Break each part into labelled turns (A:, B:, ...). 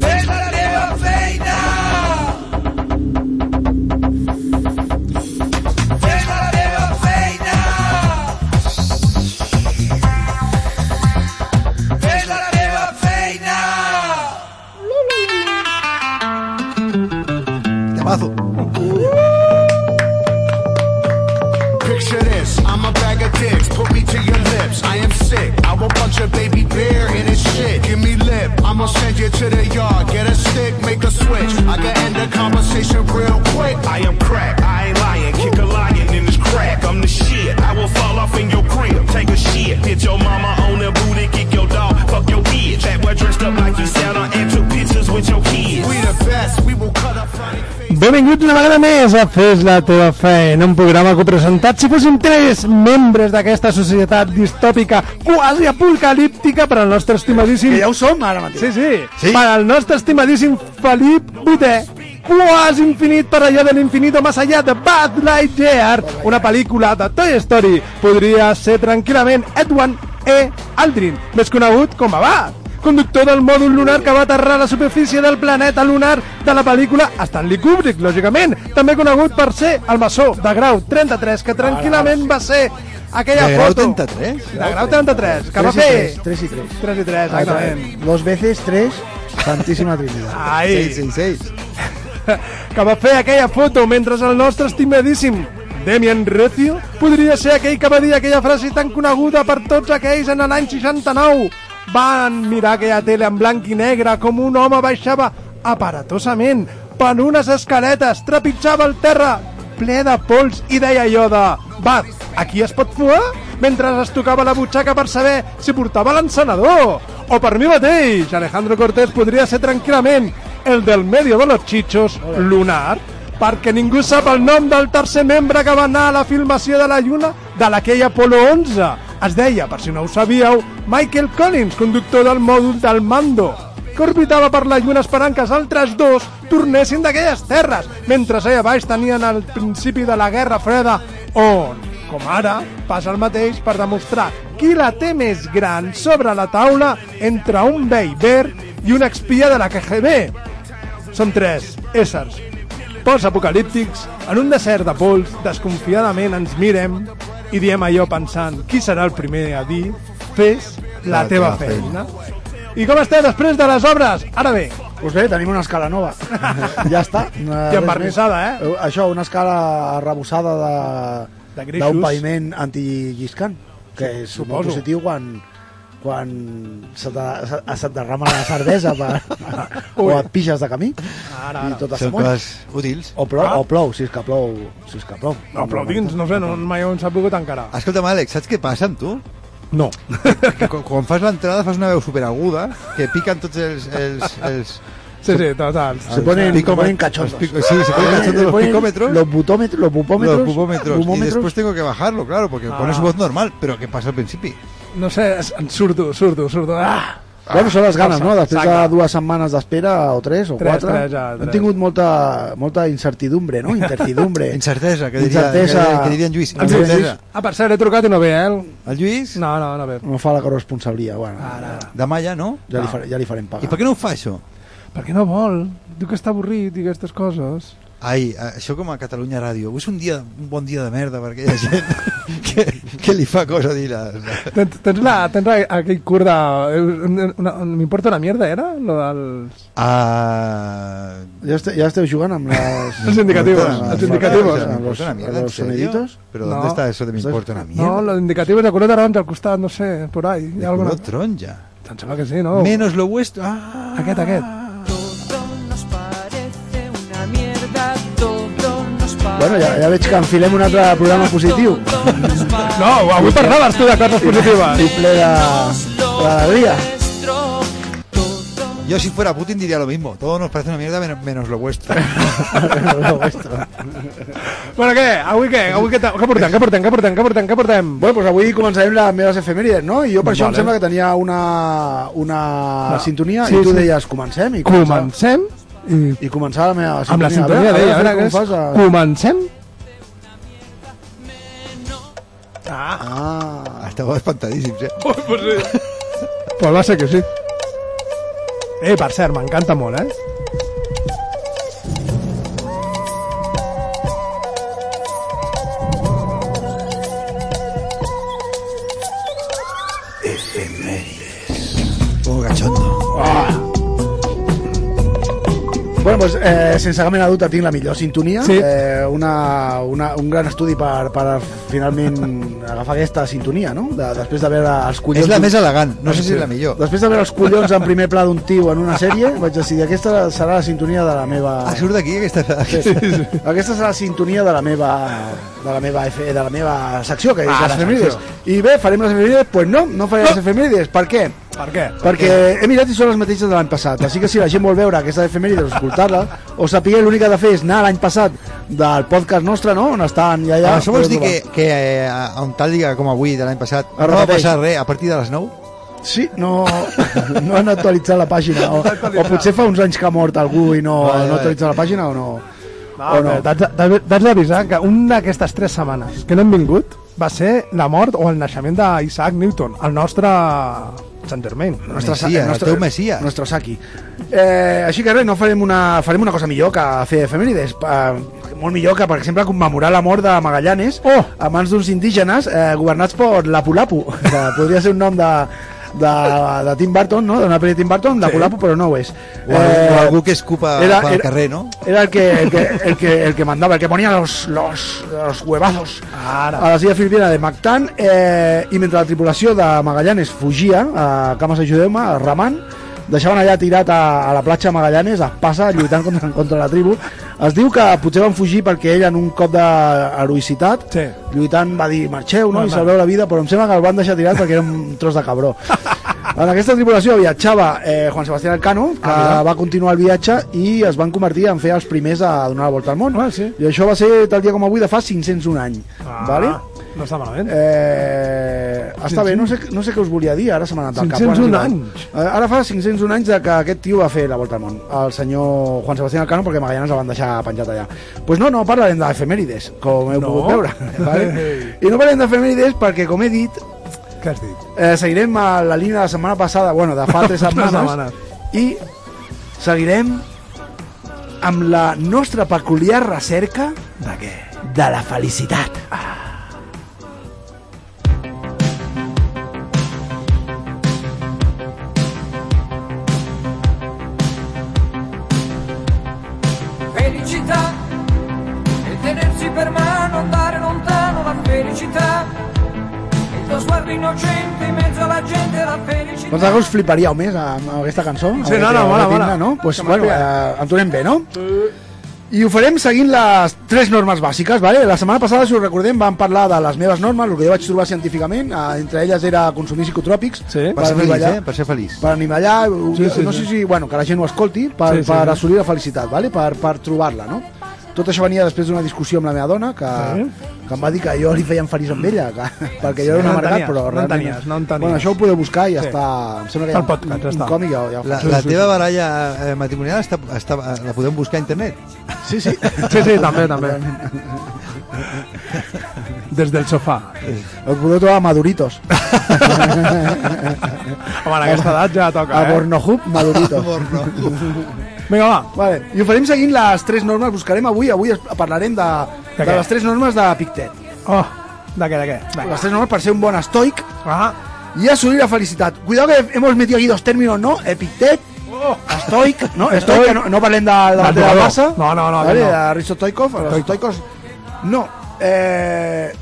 A: Fes la teva feina! Fes la teva feina! Fes la teva feina!
B: Temazo.
C: Picture this, I'm a bag of dicks, put me to your lips. I am sick, I will punch a baby bear in his shit. Give me lip, I'ma send you to the yard, get a stick, make a switch. I can end the conversation real quick. I am crack, I ain't lying, kick a lion in his crack. I'm the shit, I will fall off in your crib, take a shit. Hit your mama on the booty, kick your dog, fuck your bitch. That boy dressed up like you sat on and took pictures with your kids. We the best, we will cut up funny faces.
D: Benvinguts una vegada més a Fes la teva feina, un programa copresentat si fóssim tres membres d'aquesta societat distòpica quasi apocalíptica per al nostre estimadíssim...
B: Que ja ho som ara mateix.
D: Sí, sí,
B: Sí.
D: Per al nostre estimadíssim Felip Botè. Quasi infinit per allà de l'infinito més allà de Bad Lightyear, una pel·lícula de Toy Story. Podria ser tranquil·lament Edwin E. Aldrin, més conegut com a Buzz, conductor del mòdul lunar que va aterrar a la superfície del planeta lunar de la pel·lícula Stanley Kubrick, lògicament, també conegut per ser el maçó de grau 33, que tranquil·lament va ser aquella
B: De grau
D: foto...
B: 33?
D: De grau 33, que va
E: 3 y
D: fer...
E: 3, 3 y 3.
D: 3 i 3, exactament.
E: Dos veces 3, Santísima Trinidad.
D: Ahí.
B: 666.
D: que va fer aquella foto mentre el nostre estimadíssim Demian Recio podria ser aquell que va dir aquella frase tan coneguda per tots aquells en l'any 69. Van mirar aquella tele en blanc i negre com un home baixava aparatosament per unes escaletes, trepitjava el terra ple de pols i deia allò de «Bat, aquí es pot fuar?» mentre es tocava la butxaca per saber si portava l'encenador. O per mi mateix, Alejandro Cortés podria ser tranquil·lament el del medio de los chichos, lunar, perquè ningú sap el nom del tercer membre que va anar a la filmació de la Lluna de l'aquell Apolo 11. Es deia, per si no ho sabíeu, Michael Collins, conductor del mòdul del mando, que orbitava per la Lluna esperant que els altres dos tornessin d'aquelles terres, mentre allà baix tenien el principi de la Guerra Freda, on, com ara, passa el mateix per demostrar qui la té més gran sobre la taula entre un vell verd i un expia de la KGB. Són tres éssers post-apocalíptics, en un desert de pols, desconfiadament ens mirem i diem allò pensant qui serà el primer a dir fes la, teva, feina. I com estem després de les obres? Ara bé,
E: Pues bé, tenim una escala nova. ja està. No hi ha
D: I
E: res
D: embarnissada,
E: més. Eh, Això, una escala arrebossada de
D: De greixos.
E: d'un paviment antilliscant, que és
D: suposo.
E: molt positiu quan quan se te, se, se't derrama la cervesa per, tota o
D: Ui.
E: et pixes de camí
D: Ara, ara.
E: i tot es
B: Són
E: moll.
B: coses útils.
E: O plou,
D: Ah.
E: o plou, si és que plou, si és que plou.
D: no, aplaudins, no sé, no, mai ho hem sabut encara.
B: Escolta'm, Àlex, saps què passa amb tu?
D: No.
B: Que quan, quan fas l'entrada fas una veu superaguda que piquen tots els... els, els
D: Sí, sí, total.
E: Se ponen, se
B: picòmet-
E: ponen cachondos.
B: els pico- sí, se ponen cachondos los picómetros.
E: Los butómetros, los bupómetros.
B: los bubómetros. Y
E: bubómetros.
B: después tengo que bajarlo, claro, porque
D: Ah.
B: pones voz normal, pero ¿qué pasa al principio?
D: No sé, es- en surto, surto, surto. Ah!
E: Bueno, són les ganes, no? Després de
D: Exacte.
E: dues setmanes d'espera, o tres, o
D: Tres,
E: quatre,
D: tres, ja, tres.
E: hem tingut molta, molta incertidumbre, no? Incertidumbre.
B: Incertesa, que diria,
E: Incertesa.
B: Que, diria- que diria en Lluís.
E: En
D: Lluís.
B: Incertesa.
D: Ah, per cert, he trucat i no ve, eh? el-
B: El Lluís,
D: No, no, no ve.
E: No fa la corresponsalia, bueno.
B: de Malla, no?
E: Ja, li farem, ja li farem pagar.
B: Ah. I per què no ho fa, això?
D: Per què no vol? Diu que està avorrit i aquestes coses.
B: Ai, això com ah, a Catalunya Ràdio. Avui és un, dia, un bon dia de merda per aquella gent que, que li fa cosa dir les...
D: Tens, tens, la, tens la, aquell curt de... una- una- M'importa una mierda, era? Lo dels...
B: Ah,
E: Ja, este, ja esteu jugant amb les...
D: Els indicatius,
E: amb les-
D: els indicatius.
E: amb
B: ¿Me
E: los-
B: importa una
E: amb
B: mierda? ¿En
E: los
B: serio?
E: soniditos.
B: ¿Pero
D: No.
B: dónde está eso de me
E: Eso es-
B: importa una mierda?
D: No, los indicativos de color taronja al costat, no sé, por ahí. Hi
B: De
D: ha alguna...
B: color tronja.
D: Em sembla que sí, no?
B: Menos lo vuestro. Ah,
D: Aquest, aquest.
A: Todo nos parece una mierda, todo nos parece...
E: Bueno, ja, ja veig que enfilem un altre programa positiu.
D: No, avui parlaves tu de coses positives.
E: I ple de... de l'alegria.
B: Yo si fuera Putin diría lo mismo. Todo nos parece una mierda men- menos lo vuestro.
E: Lo vuestro.
D: Bueno, què? Avui què? Avui què, ta- què portem? Què portem? Què portem? Què portem? Què portem?
E: Bueno, doncs avui començarem les meves efemèrides, no? I jo per això
D: Vale.
E: em sembla que tenia una, una sintonia
D: Sí,
E: i tu
D: sí.
E: deies comencem i començar,
D: Comencem i...
E: i començar la meva
D: amb
E: sintonia.
D: la sintonia
E: a veure,
D: d'ella.
E: a
D: A
E: veure,
D: veure,
E: com fas
D: què
E: a...
D: és? Comencem?
E: Ah,
B: Estaba espantadísimo. ¿eh?
D: Pues va ser que sí. Eh, per cert, m'encanta molt, eh?
B: Como Oh, cachondo.
E: Bueno, doncs, eh, sense cap mena de dubte tinc la millor sintonia.
D: Sí.
E: Eh, una, una, un gran estudi per, per finalment agafar aquesta sintonia, no? De, després de veure els collons...
B: Es la
E: d'un-
B: mesa Lagan. No sé si es la mejor.
E: Després de veure els collons en primer pla d'un tio en una sèrie, vaig decidir aquesta serà la sintonia de la meva...
B: Ah, surt d'aquí aquesta...
E: Aquesta serà la sintonia de la meva de la meva, F, de la meva secció, que és
D: Ah,
E: ah,
D: la
E: les efemèrides.
D: secció.
E: I bé, farem les efemèrides? Pues no, no faré les efemèrides. Per què?
D: Per què?
E: Perquè he mirat i són les mateixes de l'any passat. Així que si la gent vol veure aquesta efemèride o escoltar-la, o saber l'únic que ha de fer és anar a l'any passat del podcast nostre, no? On estan ja allà.
B: Ah, això vols dir que, que eh, a a un tal dia com avui de l'any passat no va
E: repeteix.
B: passar res a partir de les 9?
E: Sí, no, no han actualitzat la pàgina. O, o potser fa uns anys que ha mort algú i no,
B: Vale,
E: no ha
B: vale.
E: actualitzat la pàgina o no.
D: Va, o no? T'has Ah, de- t'has d'avisar que una d'aquestes tres setmanes que no hem vingut va ser la mort o el naixement d'Isaac Newton, el nostre Sant Germain.
E: El nostre,
B: Messias, el teu Messias.
E: El nostre Saki. Eh, així que res, no farem una, farem una cosa millor que fer efemèrides. Eh, molt millor que, per exemple, commemorar la mort de Magallanes
D: Oh!
E: a mans d'uns indígenes eh, governats per Lapulapu, que podria ser un nom de, de, de Tim Burton, no? d'una pel·li de Tim Burton, Lapulapu, però no ho és.
B: O, algú- o algú que escupa
E: Eh, era-
B: pel
E: era-
B: carrer, no?
E: Era el que, el que, el que, el que mandaba, el que ponía los, los, los huevazos
D: Ara.
E: a la silla filipina de Mactan. Eh, I mentre la tripulació de Magallanes fugia a Camas Ajudeu-me, a Raman, deixaven allà tirat a, a la platja Magallanes, a passa, lluitant contra, contra la tribu. Es diu que potser van fugir perquè ell, en un cop d'heroïcitat,
D: Sí.
E: lluitant va dir marxeu no?
D: Home,
E: i salveu la vida, però em sembla que el van deixar tirat perquè era un tros de cabró. En aquesta tripulació viatjava eh, Juan Sebastián Elcano, que
D: Ah, mira.
E: va continuar el viatge i es van convertir en fer els primers a donar la volta al món.
D: Ah, sí.
E: I això va ser tal dia com avui de fa 501 any. Ah. Vale?
D: No està malament.
E: Eh, està bé, no sé, no sé què us volia dir, ara se m'ha anat al cap.
D: 501
E: Ara sí,
D: anys.
E: eh, Ara fa 501 anys de que aquest tio va fer la volta al món, el senyor Juan Sebastián Alcano, perquè Magallanes el van deixar penjat allà. Doncs pues no, no parlarem d'efemèrides, com heu
D: No.
E: pogut veure. Vale? I no parlarem d'efemèrides perquè, com he dit,
D: Què has dit?
E: eh, seguirem a la línia de la setmana passada, bueno, de fa tres setmanes,
D: setmana.
E: i seguirem amb la nostra peculiar recerca
D: De què?
E: de la felicitat.
A: Felicità e tenersi per mano, andare lontano, la felicità. Il tuo sguardo innocente in mezzo alla gente, la felicità.
E: Doncs ara us fliparíeu més amb amb aquesta cançó.
D: Sí, no, no, mola, mola.
E: No? Pues,
D: Que
E: bueno,
D: m'espera.
E: eh, entonem bé, no? I ho farem seguint les tres normes bàsiques, vale? La setmana passada, si us recordem, vam parlar de les meves normes, el que jo vaig trobar científicament, eh, entre elles era consumir psicotròpics,
D: Sí.
B: Per ser feliç,
E: anivellar-
B: eh? Per ser feliç.
E: per animallar, sí,
D: sí,
E: sí, no
D: sí.
E: sé si, bueno, que la gent ho escolti, per,
D: Sí,
E: sí,
D: sí.
E: sí. per assolir la felicitat, vale? per, per trobar-la, no? Tot això venia després d'una discussió amb la meva dona, que, sí. que em va dir que jo li feien feliç amb ella, que, perquè jo era un
D: no en
E: amargat,
D: tenies,
E: però
D: no en
E: realment...
D: tenies, no en tenies.
E: Bueno, això ho podeu buscar i ja
D: Sí.
E: està... Em sembla que
D: Està
E: hi
D: al podcast,
E: un,
D: ja està.
E: un còmic, ja, ja ho
B: La,
E: fa.
B: la teva baralla eh, matrimonial està, està, eh, la podem buscar a internet?
E: Sí, sí.
D: Sí, sí, també, també. Des del sofà.
E: El podeu trobar a Maduritos.
D: Home, en aquesta edat ja toca,
E: A
D: eh?
E: Bornohub, Maduritos.
D: Vinga, va.
E: Vale, i ho farem seguint les tres normes, buscarem avui, avui es- parlarem de,
D: De
E: de,
D: què?
E: les tres normes de Pictet.
D: Oh, de què, de què? Vinga.
E: Les tres normes per ser un bon estoic,
D: Ah,
E: y a subir la felicidad. Cuidado que hemos metido aquí dos términos, ¿no? Epictet,
D: Oh.
E: Stoic, ¿no? Stoic, que no, no parlen de, de,
D: Del
E: de la
D: jugador.
E: massa.
D: No, no, no,
E: Vale,
D: no.
E: Risto Stoikov, els
D: Stoikov.
E: estoicos... No, eh...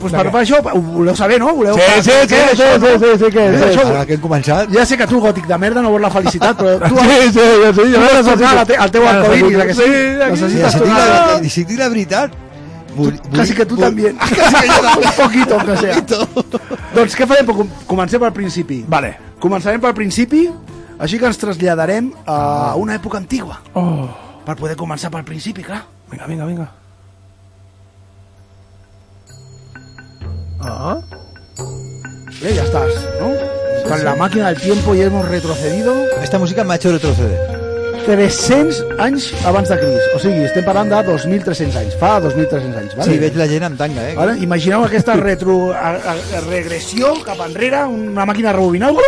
E: Pues
D: De
E: per,
D: què?
E: per això, ho voleu saber, no? Voleu
D: Sí, sí, sí,
E: què és
D: sí,
E: això, no?
D: sí, sí, sí, què és,
E: Què és això?
B: Eh, Ara que hem començat,
E: Ja sé que tu, gòtic de merda, no vols la felicitat, però tu...
D: Sí, sí, jo sí, jo
E: Tu
D: la
E: vas tornar al
D: necessito.
E: te- al teu
D: La
E: arcoíris,
D: necessito.
E: eh, que sí?
D: Sí, aquí.
B: ja,
E: Necessites
B: si, dic
E: tornar...
B: la, si dic la veritat... Vull,
E: Casi que tu també.
B: Casi que jo també.
E: Un poquito, que sea. Doncs què farem? Com- Comencem pel principi.
D: Vale.
E: Començarem pel principi Així que ens traslladarem a una època antigua,
D: Oh,
E: per poder començar pel principi, clar.
D: vinga, vinga, vinga. Ah,
E: Eh, ya estás, ¿no? Con la máquina del tiempo y hemos retrocedido
B: Esta música m'ha hecho retroceder.
E: 300 anys abans de Crist. O sigui, estem parlant de 2.300 anys. Fa 2.300 anys, vale?
B: Sí, veig la gent amb tanga, eh?
E: Vale? Imagineu aquesta retro, a, a, regressió cap enrere, una màquina rebobinant.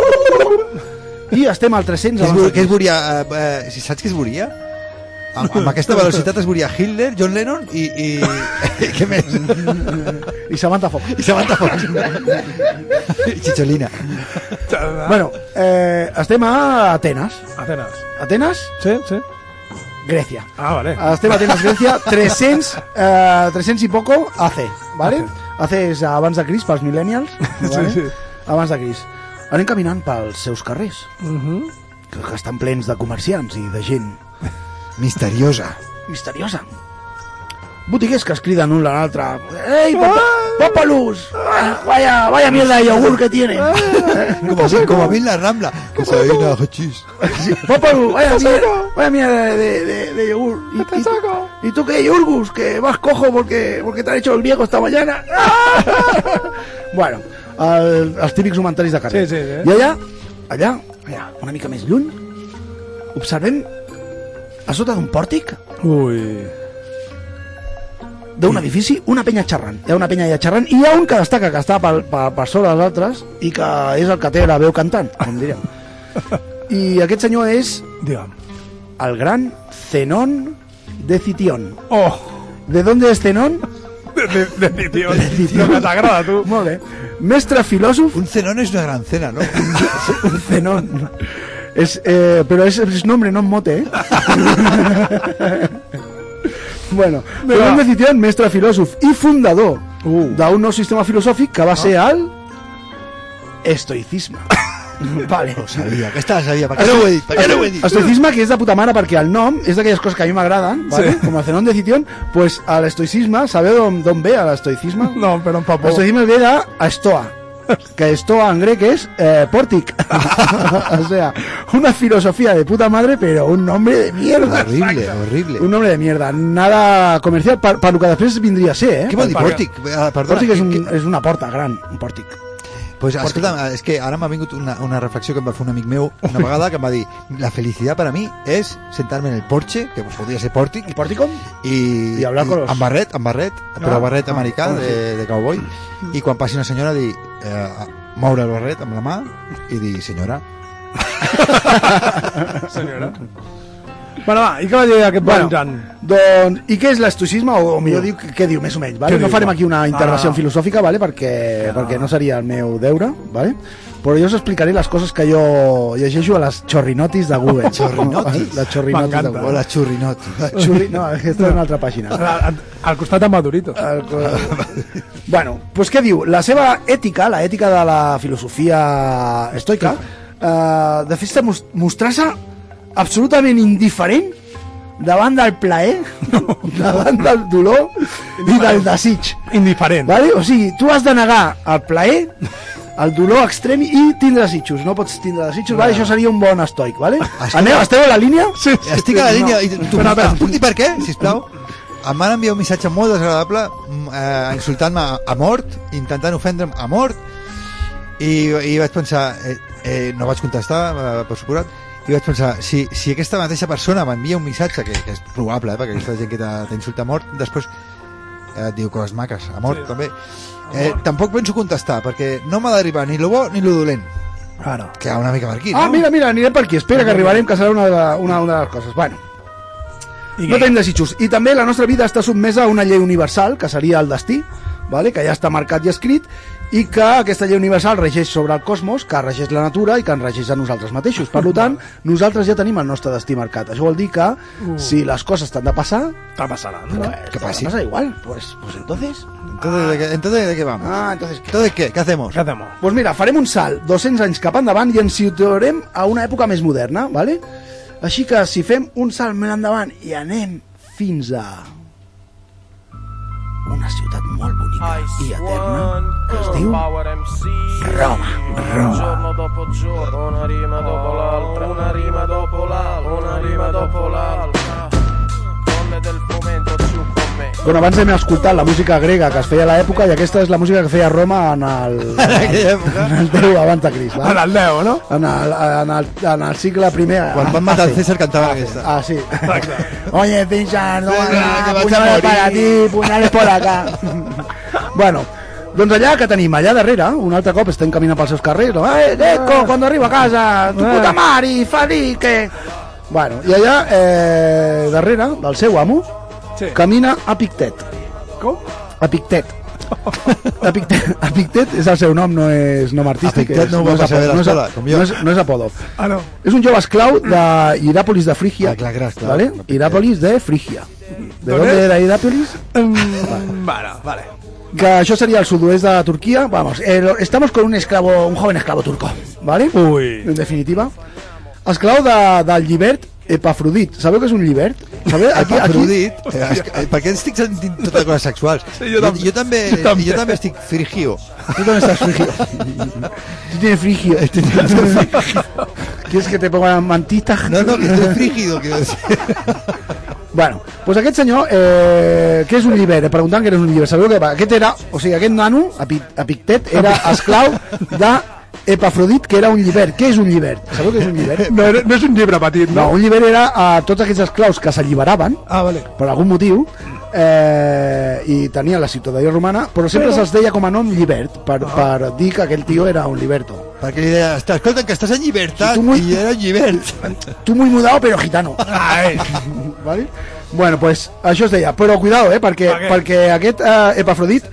E: I estem al 300
B: Que es,
E: abans
B: bu-
E: de
B: que es
E: Crist.
B: volia... Eh, eh, si saps que es volia? Amb, amb aquesta velocitat es volia Hitler, John Lennon i... i, i què més?
E: I Samantha Fox.
B: I Samantha Fox. Chicholina.
E: Bueno, eh, estem a Atenes.
D: Atenas.
E: Atenes,
D: Sí, sí.
E: Grècia.
D: Ah, vale.
E: Estem a Atenes, Grècia, 300, eh, 300 i poco AC, vale? AC és abans de Crist pels millennials, vale?
D: Sí, sí.
E: abans de Crist. Anem caminant pels seus carrers,
B: Mhm.
E: que, que estan plens de comerciants i de gent
B: Misteriosa.
E: misteriosa. Botiguers que es criden un a l'altre. Ei, papa, papalus! Ah, Vaya, vaya mierda de yogur que tiene.
B: Como, a mí- como a mí en la rambla. Que se oye una hachís.
E: Papalus, vaya mierda, vaya mierda de, de, de yogur. Y, y- ¿Y tú qué, Yurgus? Que vas cojo porque, porque te han hecho el viejo esta mañana. Ah! bueno, el, els típics comentaris de carrer.
D: Sí, sí, sí.
E: I allà, allà, allà, una mica més lluny, observem a sota d'un pòrtic
D: Ui.
E: d'un edifici, una penya xerrant. Hi ha una penya allà xerrant i hi ha un que destaca, que està per, per, per sobre dels altres i que és el que té la veu cantant, com diríem. I aquest senyor és
D: Digue'm.
E: el gran Zenón de Citión.
D: Oh,
E: ¿De dónde es Zenón?
D: de, de, de, tio, el que t'agrada, tu.
E: Molt bé. Mestre filòsof
B: Un cenón es una gran cena, ¿no?
E: Zenón. Es, eh, pero es, es nombre, no mote, ¿eh? bueno, pues Zenón de Citión, mestre filòsof i fundador
D: Uh.
E: d'un nou sistema filosòfic que va ser
B: Ah.
E: el estoicisme. vale.
B: Lo sabía. Que esta la sabía. ¿Para qué no voy a decir? ¿Para qué no voy a decir?
E: Estoicisme que és de puta mare perquè el nom és d'aquelles coses que a mi m'agraden, vale?
D: Sí.
E: com el Zenón de Citión, pues a l'estoicisme, sabeu d'on d'on ve l'estoicisme?
D: No, però en papó.
E: L'estoicisme ve de estoa, que estoa en grec és eh, pòrtic. o sea, una filosofía de puta madre, pero un nombre de mierda.
B: Horrible, horrible.
E: Un nombre de mierda, nada comercial, per, per lo que després vindria a ser, eh?
B: Què vol dir pòrtic? Ah, Perdona,
E: Pòrtic és,
B: que-
E: un,
B: que-
E: és una porta gran, un pòrtic.
B: Pues escolta'm, és que ara m'ha vingut una, una reflexió que em va fer un amic meu una vegada que em va dir la felicitat per a mi és sentar-me en el porche, que pues, podria ser pòrtic,
E: El pòrticum?
B: i,
E: I hablar con los- Ah,
B: amb barret, amb barret, però barret americà de, de cowboy, i quan passi una senyora dir, eh, moure el barret amb la mà i dir, senyora,
D: senyora. Bueno, va, i què va dir aquest bueno. Jan?
E: Doncs, I què és l'estoicisme? O, o millor diu, què diu més o menys, vale?
D: Què
E: No
D: diu?
E: farem aquí una intervenció
D: Ah.
E: filosòfica, vale? Perquè, perquè no seria el meu deure, vale? Però jo us explicaré les coses que jo llegeixo a les xorrinotis de Google.
B: Xorrinotis?
E: Les xorrinotis de
D: M'encanta.
B: o
E: Google.
B: la xurrinoti.
E: Xurri... No, aquesta és una altra pàgina.
D: Al, al costat de Madurito.
E: El
B: Ah,
E: co- bueno, doncs què diu? La seva ètica, la ètica de la filosofia estoica, eh, de fet, mos- mostrar-se absolutament indiferent davant del plaer, davant del dolor i del desig.
D: Indiferent.
E: Vale? O sigui, tu has de negar el plaer, el dolor extrem i tindre desitjos. No pots tindre desitjos, vale? això seria un bon estoic. Vale?
B: Escolta.
E: Aneu, esteu a la línia?
D: Sí, sí.
B: Estic a la línia, i tu,
D: Espera, espera.
B: em puc dir per què, sisplau? Em van enviar un missatge molt desagradable mm, eh, insultant-me a, a mort, intentant ofendre'm a mort, i, i vaig pensar, eh, eh, no vaig contestar, eh, per suposat, i vaig pensar, si, si aquesta mateixa persona m'envia un missatge, que, que és probable, eh, perquè aquesta gent que t'ha- t'insulta a mort, després eh, et diu coses maques, a mort
D: Sí.
B: també, eh, tampoc penso contestar, perquè no m'ha d'arribar ni lo bo ni lo dolent,
D: Claro.
B: que una mica per aquí,
E: Ah,
B: no?
E: mira, mira, anirem per aquí. Espera que arribarem, que serà una de, la- una, una de les coses. Bueno,
D: I
E: no tenim desitjos. I també la nostra vida està sotmesa a una llei universal, que seria el destí, vale? que ja està marcat i escrit, i que aquesta llei universal regeix sobre el cosmos, que regeix la natura i que ens regeix a nosaltres mateixos. Per tant, nosaltres ja tenim el nostre destí marcat. Això vol dir que si les coses t'han de passar,
D: Està passant, no?
B: que passi.
E: Passa igual. Pues, pues entonces...
B: Entonces, ¿de qué, entonces, ¿de qué vamos?
E: Ah, entonces... ¿qué?
B: Entonces, ¿qué? ¿Qué hacemos?
D: Què fem?
E: Doncs mira, farem un salt 200 anys cap endavant i ens situarem a una època més moderna, vale? Així que si fem un salt més endavant i anem fins a... una ciutat molt bonica i eterna que es diu
F: diu
E: Roma. Roma.
F: Giorno dopo giorno, una rima dopo l'altra, una rima dopo l'altra, una rima dopo l'altra. Donne del fomento giù con me.
E: Bueno, abans hem escoltat la música grega que es feia a l'època i aquesta és la música que feia Roma en el,
B: En aquella època.
E: en el 10 abans de Crist. va?
D: Ara el 10, no?
E: En el, en el, en el cicle primer...
B: Quan van matar el César cantaven aquesta.
E: Ah, sí. Oye, pincha, no,
B: César, que vas a
E: punyales
B: morir.
E: para ti, punyales por acá. bueno, doncs allà que tenim, allà darrere, un altre cop estem caminant pels seus carrers, no? Eh,
B: Ah.
E: Deco, quan arriba a casa,
B: Eh.
E: tu puta mare, Fali, que... Bueno, i allà, eh, darrere, del seu amo,
D: Sí.
E: camina a Pictet.
D: Com?
E: A Pictet. A Pictet, a Pictet és el seu nom, no és nom artístic.
B: Epictet
E: és-
B: no ho va
E: és
B: saber
E: apo-
B: a
E: no és a-
B: l'escola, com jo.
E: No és, no és apodo.
D: Ah, no.
E: És un jove esclau de
D: Mm.
E: Hierápolis de Frigia.
B: Ah, clar, clar, clar.
E: ¿vale? Hierápolis de Frigia. ¿De
D: ¿Dónde?
E: dónde era Hierápolis?
D: Mm, vale, vale.
E: Que això seria el sud-oest de Turquia. Vamos, eh, lo- estamos con un esclavo, un joven esclavo turco, ¿vale?
D: Ui.
E: En definitiva. Esclau de, del llibert Epafrodit. Sabeu què és un llibert? Sabeu? Aquí, aquí,
B: Afrodit, eh, es- eh, per què estic sentint totes coses sexuals?
D: Sí, jo també.
B: jo, també,
D: Jo també.
B: jo també estic frigio.
E: tú dónde estás, Frigio? Tú tienes Frigio. ¿Quieres que te pongan mantitas?
B: No, no, que estoy frígido, quiero decir.
E: Bueno, pues aquest senyor, eh, què és un llibert? Eh, Preguntant què era un llibert. Sabeu què va? Aquest era, o sigui, aquest nano, Epi- Epictet, era esclau de Epafrodit, que era un llibert. Què és un llibert? Sabeu què és un llibert?
D: No, no és un llibre petit,
E: No,
D: no?
E: un llibert era a tots aquests esclaus que s'alliberaven,
D: Ah, vale.
E: per algun motiu, eh, i tenia la ciutadania romana, però sempre se'ls deia com a nom llibert, per,
D: Ah.
E: per dir que aquell tio era un liberto.
B: Perquè li deia, "Està- escolta, que estàs en llibertat,
E: Si tu muy-
B: i era en llibert. Eh,
E: Tu muy mudado, pero gitano.
D: Ai.
E: ¿vale? Bueno, pues això es deia, però cuidado, eh, perquè,
D: Per què?
E: perquè aquest eh, Epafrodit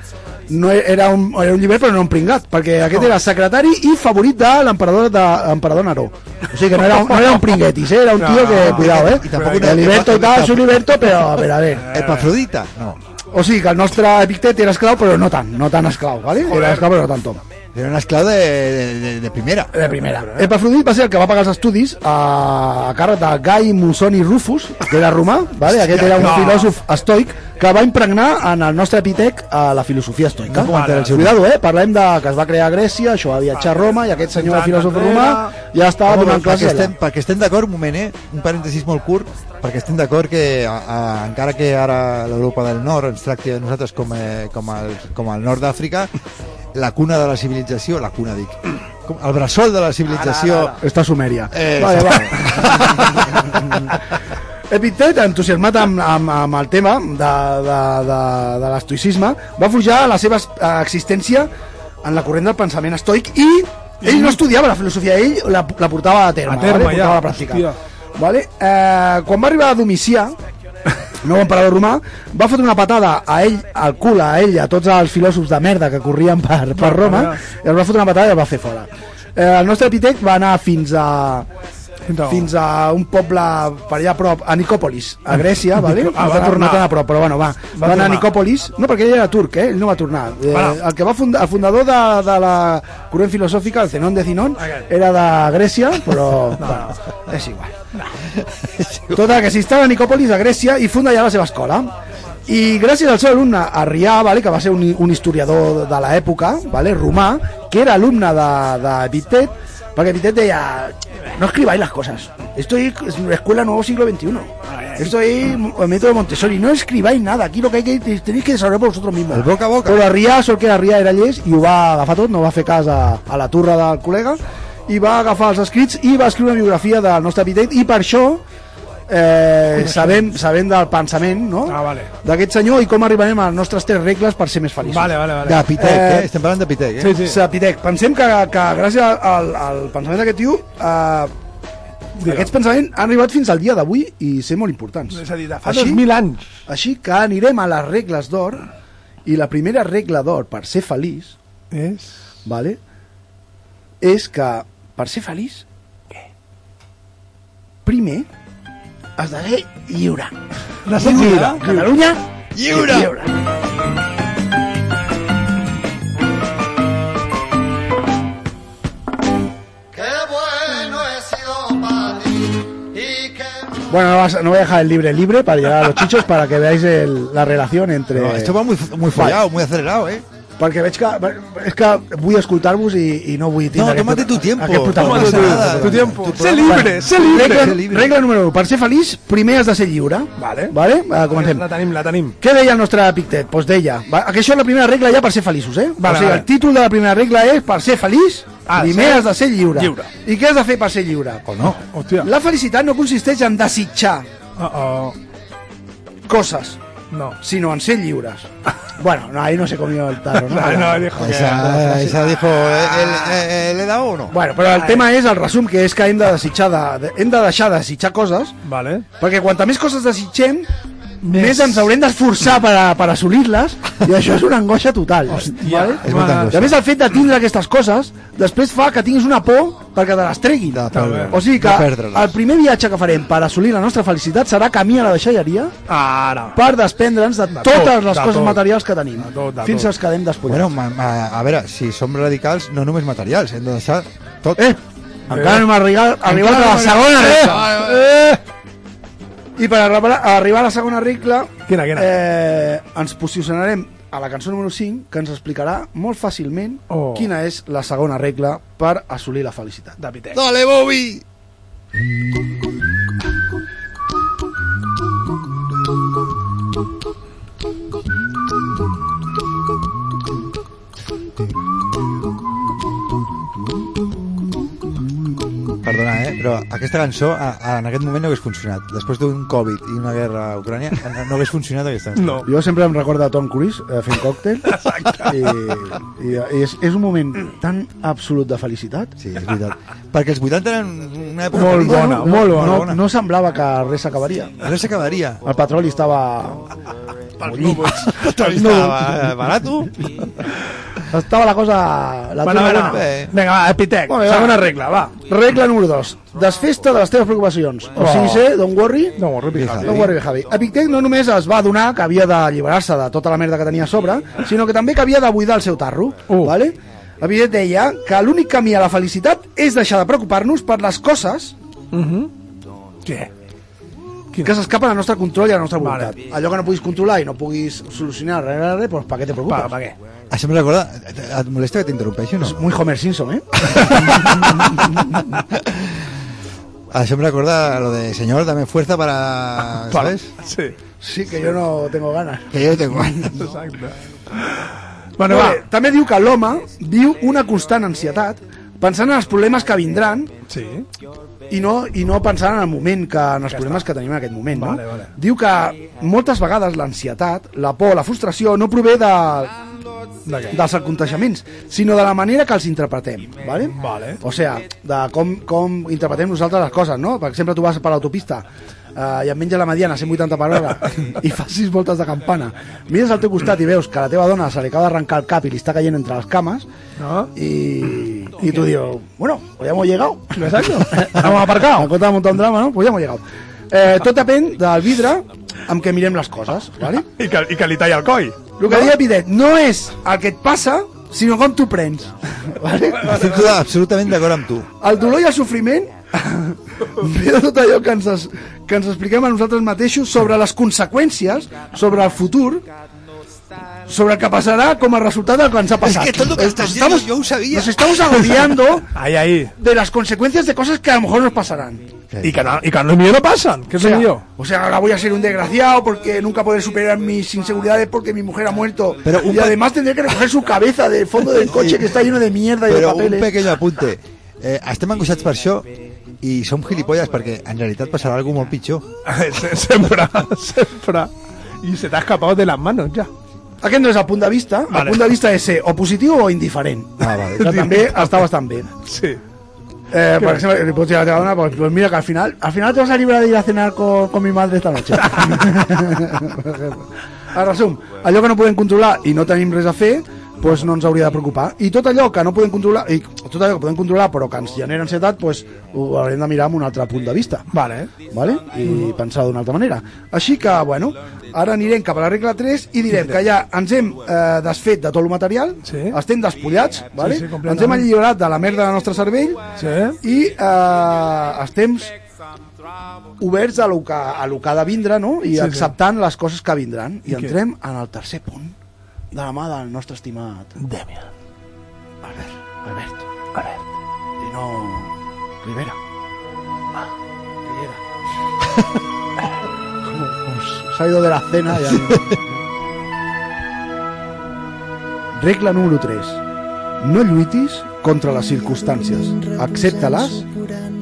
E: no e- era un, era un llibert però no un pringat, perquè aquest era secretari i favorit de l'emperador de l'emperador Neró. O sigui que no era un, no era un pringuetis, eh, era un tio que,
D: No.
E: cuidado, eh.
B: I tampoc era-
E: el liberto i tal, és un liberto, però, però a ver.
B: Epafrodita? No,
E: O sigui que el nostre Epictet era esclau, però no tant, no tan esclau, ¿vale? Era esclau, però no tanto.
B: era un esclau de, de, de, de primera.
E: De primera. Epafrodit Eh, va ser el que va pagar els estudis a, a càrrec de Gai Musoni Rufus, que era romà, vale? aquest era un
D: no.
E: filòsof estoic que va impregnar en el nostre epitec a la filosofia estoica. Cuidado, eh? Parlem de que es va crear a Grècia, això va viatjar a Roma, i aquest senyor
D: Tant
E: filòsof
D: enrere.
E: romà ja estava
B: Home,
E: donant
B: però perquè
E: classes allà.
B: estem, perquè estem d'acord, un moment, eh? Un parèntesis molt curt, perquè estem d'acord que a, a, encara que ara l'Europa del Nord ens tracti a nosaltres com, eh, com, el, com el nord d'Àfrica, la cuna de la civilització, la cuna dic, com el bressol de la civilització...
E: Està a Sumèria.
B: Eh,
E: vale,
B: sí.
E: va. Epictet, entusiasmat amb, amb, amb el tema de, de, de, de l'estoicisme, va forjar la seva eh, existència en la corrent del pensament estoic i ell no estudiava la filosofia, ell la, la portava a terme,
D: A terme,
E: vale? portava
D: ja,
E: a la pràctica.
D: hòstia.
E: Vale? Eh, quan va arribar a Domicià, nou emperador romà, va fotre una patada a ell, al cul, a ell, a tots els filòsofs de merda que corrien per, per Roma, i els va fotre una patada i el va fer fora. Eh, el nostre Epitec va anar fins a
D: Fins a on?
E: fins a un poble per allà a prop, a Nicòpolis, a Grècia, vale? no
D: Ah, va
E: va tornar
D: tornar.
E: tan a prop, però bueno, va. Va, anar
D: tornar.
E: a Nicòpolis, no perquè ell era turc, eh? ell no va tornar. Eh,
D: Va.
E: el que va fundar, el fundador de, de la corrent filosòfica, el Zenon de Zinon,
D: Aquest.
E: era de Grècia, però bueno, és igual. Total, que s'instal·la a Nicòpolis, a Grècia, i funda ja la seva escola. I gràcies al seu alumne, Arrià, vale, que va ser un, un historiador de l'època, vale, romà, que era alumne de, de Epictet, perquè Epictet deia, no escribáis las cosas, esto es la escuela nuevo siglo XXI, esto es el método de Montessori, no escribáis nada, aquí lo que hay que, tenéis que desarrollar por vosotros mismos.
B: El boca a boca.
E: Però Arrià, sort que Arrià era llest i ho va agafar tot, no va fer cas a, a la turra del col·lega i va agafar els escrits i va escriure una biografia del nostre Epictet i per això eh, sabem, sabem del pensament no?
D: Ah, vale.
E: d'aquest senyor i com arribarem a les nostres tres regles per ser més feliços.
D: Vale, vale, vale.
B: De Pitec, eh?
E: Eh,
B: Estem parlant de Pitec, eh?
D: Sí, sí.
E: Sapitec, pensem que, que gràcies al, al pensament d'aquest tio eh, aquests pensaments han arribat fins al dia d'avui i ser molt importants.
D: És a dir, de fa 2.000 anys.
E: Així que anirem a les regles d'or i la primera regla d'or per ser feliç
D: És...
E: vale, és que per ser feliç primer has de ser lliure.
D: De ser lliure.
E: Catalunya
B: Lliure!
E: lliure.
C: Qué bueno he sido para ti y qué
E: Bueno, no, vas- no voy a dejar el libre libre para llegar a los chichos para que veáis el- la relación entre...
B: No, esto va muy, muy follado, muy acelerado, eh?
E: Perquè veig que... És que vull escoltar-vos i, i no vull tindre...
B: No,
E: aquest
B: tómate tu
E: prota-
B: tiempo.
E: aquest protagonista.
B: Tómate tu- tu
D: tiempo.
B: Tu
D: Sé
B: programa.
D: libre, sé libre.
E: Regla,
B: Ser libre.
E: regla número 1. Per ser feliç, primer has de ser lliure.
D: Vale.
E: Vale? Ah, comencem.
D: La tenim, la tenim.
E: Què deia el nostre Pictet? Doncs deia, va, que això és la primera regla ja per ser feliços, eh?
D: Vale,
E: o sigui,
D: vale.
E: el títol de la primera regla és per ser feliç,
D: Ah,
E: primer
D: ser
E: has de ser lliure.
D: lliure.
E: I què has de fer per ser lliure?
B: O no.
D: Hòstia.
E: La felicitat no consisteix en desitjar
D: Oh, oh.
E: coses,
D: No.
E: sinó en ser lliures. bueno, no, ahí no se comió el tarro, no?
D: No, no, dijo que...
B: Esa, esa dijo, eh, el- eh, eh, ¿le he dado o no?
E: Bueno, però el tema és el resum, que és que hem de desitjar de, de, hem de deixar de desitjar coses,
D: Vale.
E: perquè quanta més coses desitgem, més, ens haurem d'esforçar per, a- per assolir-les, i això és una angoixa total. Vale?
B: És molta
E: I a més el fet de tindre aquestes coses després fa que tinguis una por perquè te les treguin.
B: De perdre-les.
E: O sigui que
B: De perdre-les.
E: el primer viatge que farem per assolir la nostra felicitat serà camí a la deixalleria
D: Ara.
E: per desprendre'ns de
D: tot,
E: totes les
D: de
E: coses
D: tot.
E: materials que tenim.
D: De tot, de
E: Fins
D: tot.
E: als quedem
B: Bueno,
E: despullats.
B: ma, ma, a veure, si som radicals, no ¿eh? només materials, hem de deixar tot.
E: eh, encara no hem arribat, arribat a la segona regla. Eh.
D: Eh!
E: I per arribar, arribar a la segona regla
D: Quina, quina?
E: eh, ens posicionarem a la cançó número 5 que ens explicarà molt fàcilment
D: Oh.
E: quina és la segona regla per assolir la felicitat.
D: De pitec.
B: Dale, Bobby! Perdona, eh? però aquesta cançó a, a, en aquest moment no hagués funcionat. Després d'un Covid i una guerra a Ucrània, no, no hagués funcionat aquesta cançó.
D: No.
E: Jo sempre em recorda a Tom Cruise eh, fent còctel i, i, i és, és un moment tan absolut de felicitat
B: Sí, és veritat. Perquè els 80 eren una època...
E: molt
B: feliç.
E: bona,
B: No,
E: molt bona.
B: molt
E: No, no semblava que res acabaria.
B: Ara s'acabaria.
E: El petroli estava...
B: Tot estava eh, barato.
E: Estava la cosa... La
D: Bueno,
E: tuna
D: bueno.
E: buena.
B: Eh.
D: Vinga, va, Epitec.
E: Molt bé, va.
D: Segona regla, va.
E: Regla número 2. Desfesta de les teves preocupacions. O sigui, ser, don't worry,
D: No, repita.
B: Vinga.
E: No worry, Javi. Epictet no només es va adonar que havia d'alliberar-se de tota la merda que tenia a sobre, sinó que també que havia de buidar el seu tarro.
D: Uh.
E: Vale? Epictet deia que l'únic camí a la felicitat és deixar de preocupar-nos per les coses
D: Mhm. Què?
E: que s'escapen al nostre control i a la nostra voluntat. Allò que no puguis controlar i no puguis solucionar res, res, res doncs per què te
D: Pa,
E: preocupes?
D: pa què?
B: Això em recorda... Et molesta que t'interrompeixi o no?
E: És muy Homer Simpson, eh?
B: Això em recorda lo de señor, dame fuerza para, ¿sabes?
D: Sí.
E: Sí, que jo no tengo ganas.
B: Que yo tengo ganas.
D: Exacte.
E: Bueno,
D: Bueno,
E: va.
D: va.
E: També diu que l'home viu una constant ansietat pensant en els problemes que vindran
D: Sí.
E: i no, i no pensant en el moment, que, en els problemes que tenim en aquest moment. No?
D: Vale, vale.
E: Diu que moltes vegades l'ansietat, la por, la frustració no prové de,
D: De què?
E: dels aconteixements, sinó de la manera que els interpretem. Vale?
D: Vale.
E: O sigui, de com, com interpretem nosaltres les coses. No? Per exemple, tu vas per l'autopista eh, i et menges la mediana a 180 per hora i fas sis voltes de campana. Mires al teu costat i veus que a la teva dona se li acaba d'arrencar el cap i li està caient entre les cames
D: No?
E: y, y tú digo, bueno, pues ya hemos llegado.
D: Exacto.
E: Hemos aparcado. En contra de montar un drama, ¿no? Pues ya hemos llegado. Eh, tot depèn del vidre amb què mirem les coses, ¿vale?
D: I que, I que li talla el coll.
E: El que deia Pitet, no és el que et passa, sinó com tu prens. Vale?
B: Estic total- absolutament d'acord amb tu.
E: El dolor i el sofriment ve de tot allò que ens, es, que ens expliquem a nosaltres mateixos sobre les conseqüències, sobre el futur, sobre el que passarà com a resultat del que ens ha passat. Eh,
B: que tot lo que estás diciendo
E: Estamos-
B: yo lo sabía.
E: Nos estamos agobiando
D: Ahí, ahí.
E: de las consecuencias de cosas que a lo mejor nos pasarán.
D: I que, no, i que no, millor no passen, que és
E: O
D: el
E: sea,
D: millor.
E: o sea, ahora voy a ser un desgraciado porque nunca podré superar mis inseguridades porque mi mujer ha muerto.
B: Pero un
E: y
B: pa-
E: además tendré que recoger su cabeza del fondo del coche que está lleno de mierda y de
B: Però un
E: papeles.
B: pequeño apunte. Eh, estem angoixats per això i som gilipolles perquè en realitat passarà alguna molt pitjor.
D: Se- sempre, sempre. I se t'ha escapat de les manos, ja.
E: Aquest no és el punt de vista. El
D: Vale.
E: punt de vista és ser o positiu o indiferent.
B: Ah, vale.
E: Que també està bastant bé.
D: Sí.
E: Eh, per exemple, li pots dir a la teva dona, pues, pues mira que al final, al final te vas a librar de ir a cenar con, con mi madre esta noche. a resum, allò que no podem controlar i no tenim res a fer, pues no ens hauria de preocupar. I tot allò que no podem controlar, i tot allò que podem controlar però que ens genera ansietat, pues, ho haurem de mirar amb un altre punt de vista.
D: Vale.
E: Vale? I pensar d'una altra manera. Així que, bueno, ara anirem cap a la regla 3 i direm que ja ens hem eh, desfet de tot el material,
D: Sí.
E: estem despullats, vale?
D: sí, completament.
E: ens hem alliberat de la merda del nostre cervell
D: Sí.
E: i eh, estem oberts a lo que, a lo que ha de vindre no? i
D: Sí,
E: sí,
D: sí.
E: acceptant les coses que vindran. I
D: I què?
E: entrem en el tercer punt de la mà del nostre estimat
D: Damian.
E: Albert, Albert,
D: Albert.
E: Dino Rivera. Rivera. Como, como se ha ido de la cena ya. Regla número 3. No lluitis contra les circumstàncies. Accepta-les